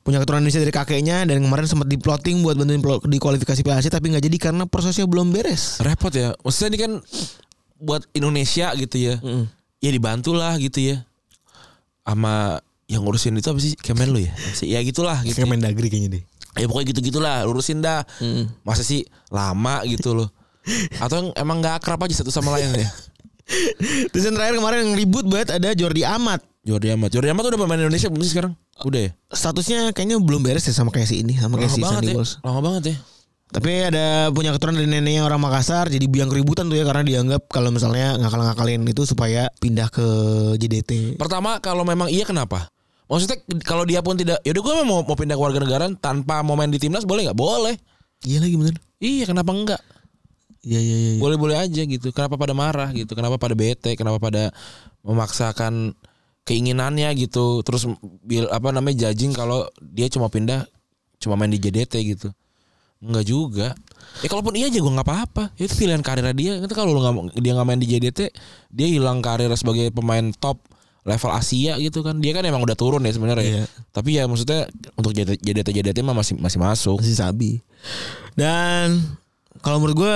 Punya keturunan Indonesia dari kakeknya dan kemarin sempat diploting buat bantuin plo- di kualifikasi PLC tapi nggak jadi karena prosesnya belum beres.
Repot ya. Maksudnya ini kan buat Indonesia gitu ya. Ya dibantulah gitu ya. Sama yang ngurusin itu apa sih? Kemenlu ya? Apa sih? Ya gitulah gitu.
main dagri kayaknya deh.
Ya pokoknya gitu-gitulah urusin dah. Masa sih lama gitu loh. Atau yang emang nggak akrab aja satu sama lain ya.
Terus yang terakhir kemarin yang ribut banget ada Jordi Amat.
Jordi Amat. Jordi Amat udah pemain Indonesia belum sih sekarang? Udah ya?
Statusnya kayaknya belum beres ya sama kayak si ini sama kayak si
banget
Sandy
ya.
Walsh.
Lama banget ya.
Tapi ada punya keturunan dari neneknya orang Makassar jadi biang keributan tuh ya karena dianggap kalau misalnya ngakal-ngakalin itu supaya pindah ke JDT.
Pertama kalau memang iya kenapa? Maksudnya kalau dia pun tidak, yaudah gue mau mau pindah ke warga negara tanpa mau main di timnas boleh nggak? Boleh.
Iya lagi bener.
Iya kenapa enggak?
Iya iya iya. iya.
boleh-boleh aja gitu. Kenapa pada marah gitu? Kenapa pada bete? Kenapa pada memaksakan keinginannya gitu? Terus bil apa namanya judging kalau dia cuma pindah cuma main di JDT gitu. Enggak juga. Ya kalaupun iya aja gue nggak apa-apa. Itu pilihan karirnya dia. Itu kalau lu nggak mau- dia nggak main di JDT, dia hilang karir sebagai pemain top level Asia gitu kan. Dia kan emang udah turun ya sebenarnya.
Iya.
ya. Tapi ya maksudnya untuk JDT JDT, mah masih masih masuk.
Masih sabi. Dan kalau menurut gua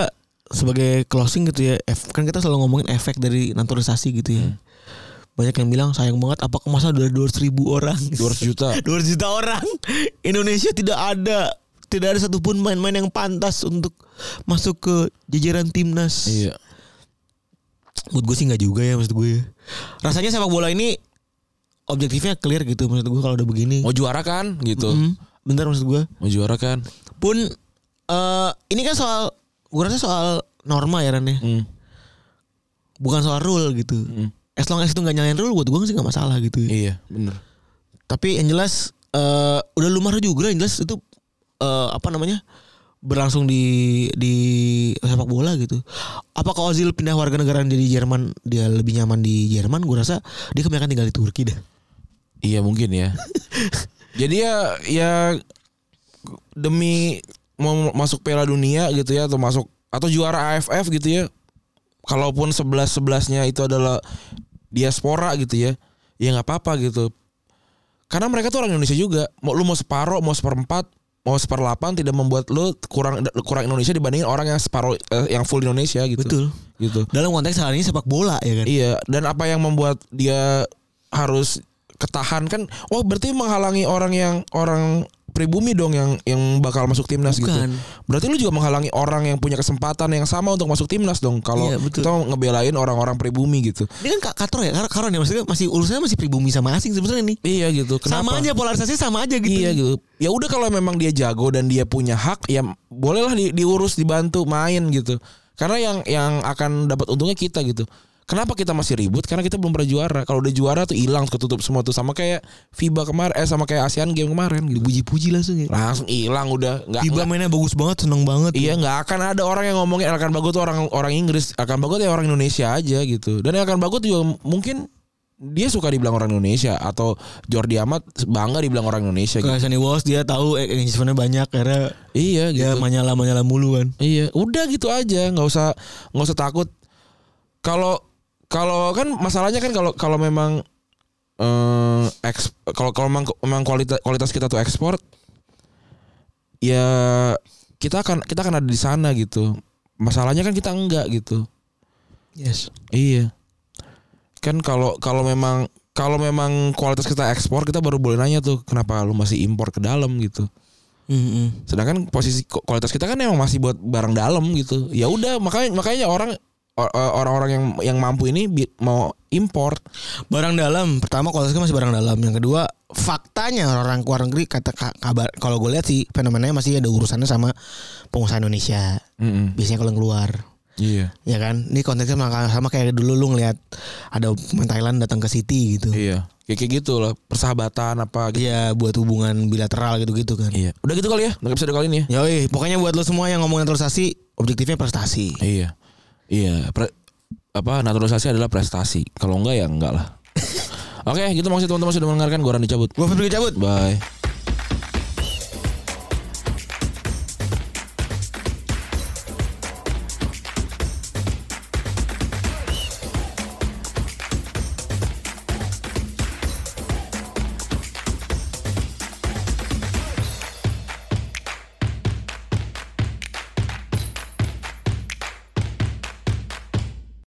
sebagai closing gitu ya, ef- kan kita selalu ngomongin efek dari naturalisasi gitu ya. Banyak yang bilang sayang banget apakah masa udah 200 ribu orang
200 juta.
200 juta orang Indonesia tidak ada tidak ada satupun main-main yang pantas untuk masuk ke jajaran timnas.
Iya.
Menurut gue sih nggak juga ya maksud gue. ya. Rasanya sepak bola ini objektifnya clear gitu menurut gue kalau udah begini.
mau juara kan gitu
Hmm, bentar maksud gue.
mau juara kan
Pun eh ini kan soal gue rasa soal norma ya Ran ya.
Hmm.
Bukan soal rule gitu. As long as itu nggak nyalain rule buat gue sih nggak masalah gitu.
iya bener
Tapi yang jelas eh udah lumrah juga yang jelas itu eh apa namanya? berlangsung di di sepak bola gitu. Apakah Ozil pindah warga negara dari Jerman dia lebih nyaman di Jerman? Gue rasa dia kebanyakan tinggal di Turki dah.
iya mungkin ya jadi ya ya demi mau masuk Piala Dunia gitu ya atau masuk atau juara AFF gitu ya kalaupun 11 11-nya itu adalah diaspora gitu ya ya nggak apa-apa gitu karena mereka tuh orang Indonesia juga mau lu mau separuh mau seperempat mau seperlapan tidak membuat lu kurang kurang Indonesia dibandingin orang yang separuh eh, yang full Indonesia gitu
Betul.
gitu
Dalam konteks hal ini sepak bola ya kan.
Iya, dan apa yang membuat dia harus ketahan kan? Oh, berarti menghalangi orang yang orang pribumi dong yang yang bakal masuk timnas gitu.
Bukan.
Berarti lu juga menghalangi orang yang punya kesempatan yang sama untuk masuk timnas dong. Kalau
Iya, betul.
kita ngebelain orang-orang pribumi gitu.
Ini kan Kak Katro ya, Kar- Karon ya maksudnya masih urusannya masih pribumi sama asing sebenarnya nih.
Iya gitu.
Sama
Kenapa?
aja polarisasinya sama aja gitu.
Iya gitu. Ya udah kalau memang dia jago dan dia punya hak, ya bolehlah di- diurus, dibantu, main gitu. Karena yang yang akan dapat untungnya kita gitu. Kenapa kita masih ribut? Karena kita belum pernah juara. Kalau udah juara tuh hilang ketutup semua tuh sama kayak FIBA kemarin, eh sama kayak ASEAN Game kemarin gitu.
Dipuji-puji langsung ya.
Langsung hilang udah nggak
Tiba
nggak-
mainnya bagus banget, seneng banget.
Iya nggak akan ada orang yang ngomongin akan bagus tuh orang orang Inggris, akan bagus ya orang Indonesia aja gitu. Dan akan bagus juga mungkin dia suka dibilang orang Indonesia atau Jordi Amat bangga dibilang orang Indonesia gitu.
Kayak Sunny Walls dia tahu eh, engagementnya banyak karena
Iya gitu.
dia manyala manyala mulu kan.
Iya, udah gitu aja, nggak usah nggak usah takut. Kalau kalau kan masalahnya kan kalau kalau memang eh eks- kalau kalau memang, memang kualitas kualitas kita tuh ekspor, ya kita akan kita akan ada di sana gitu. Masalahnya kan kita enggak gitu.
Yes.
Iya. Kan kalau kalau memang kalau memang kualitas kita ekspor kita baru boleh nanya tuh kenapa lu masih impor ke dalam gitu. Sedangkan posisi ku- kualitas kita kan emang masih buat barang dalam gitu. Ya udah makanya makanya orang or- orang-orang yang yang mampu ini bi- mau import.
Barang dalam pertama kualitasnya masih barang dalam. Yang kedua faktanya orang luar negeri kata ka- kabar kalau gue lihat sih fenomenanya masih ada urusannya sama pengusaha Indonesia. Biasanya kalau yang keluar
Iya.
ya kan ini konteksnya sama- sama kayak dulu lu ngeliat ada pemain Thailand datang ke City gitu
Iya. Kayak kayak gitu lah persahabatan apa gitu.
Iya buat hubungan bilateral gitu-gitu kan
Iya. Udah gitu kali ya untuk episode kali ini ya.
Yoi pokoknya buat lo semua yang ngomongin naturalisasi Objektifnya prestasi
Iya. Iya, pre- apa naturalisasi adalah prestasi. Kalau enggak ya enggak lah. Oke, gitu maksud teman-teman sudah mendengarkan gua Rani cabut.
Gue Febri cabut
Bye.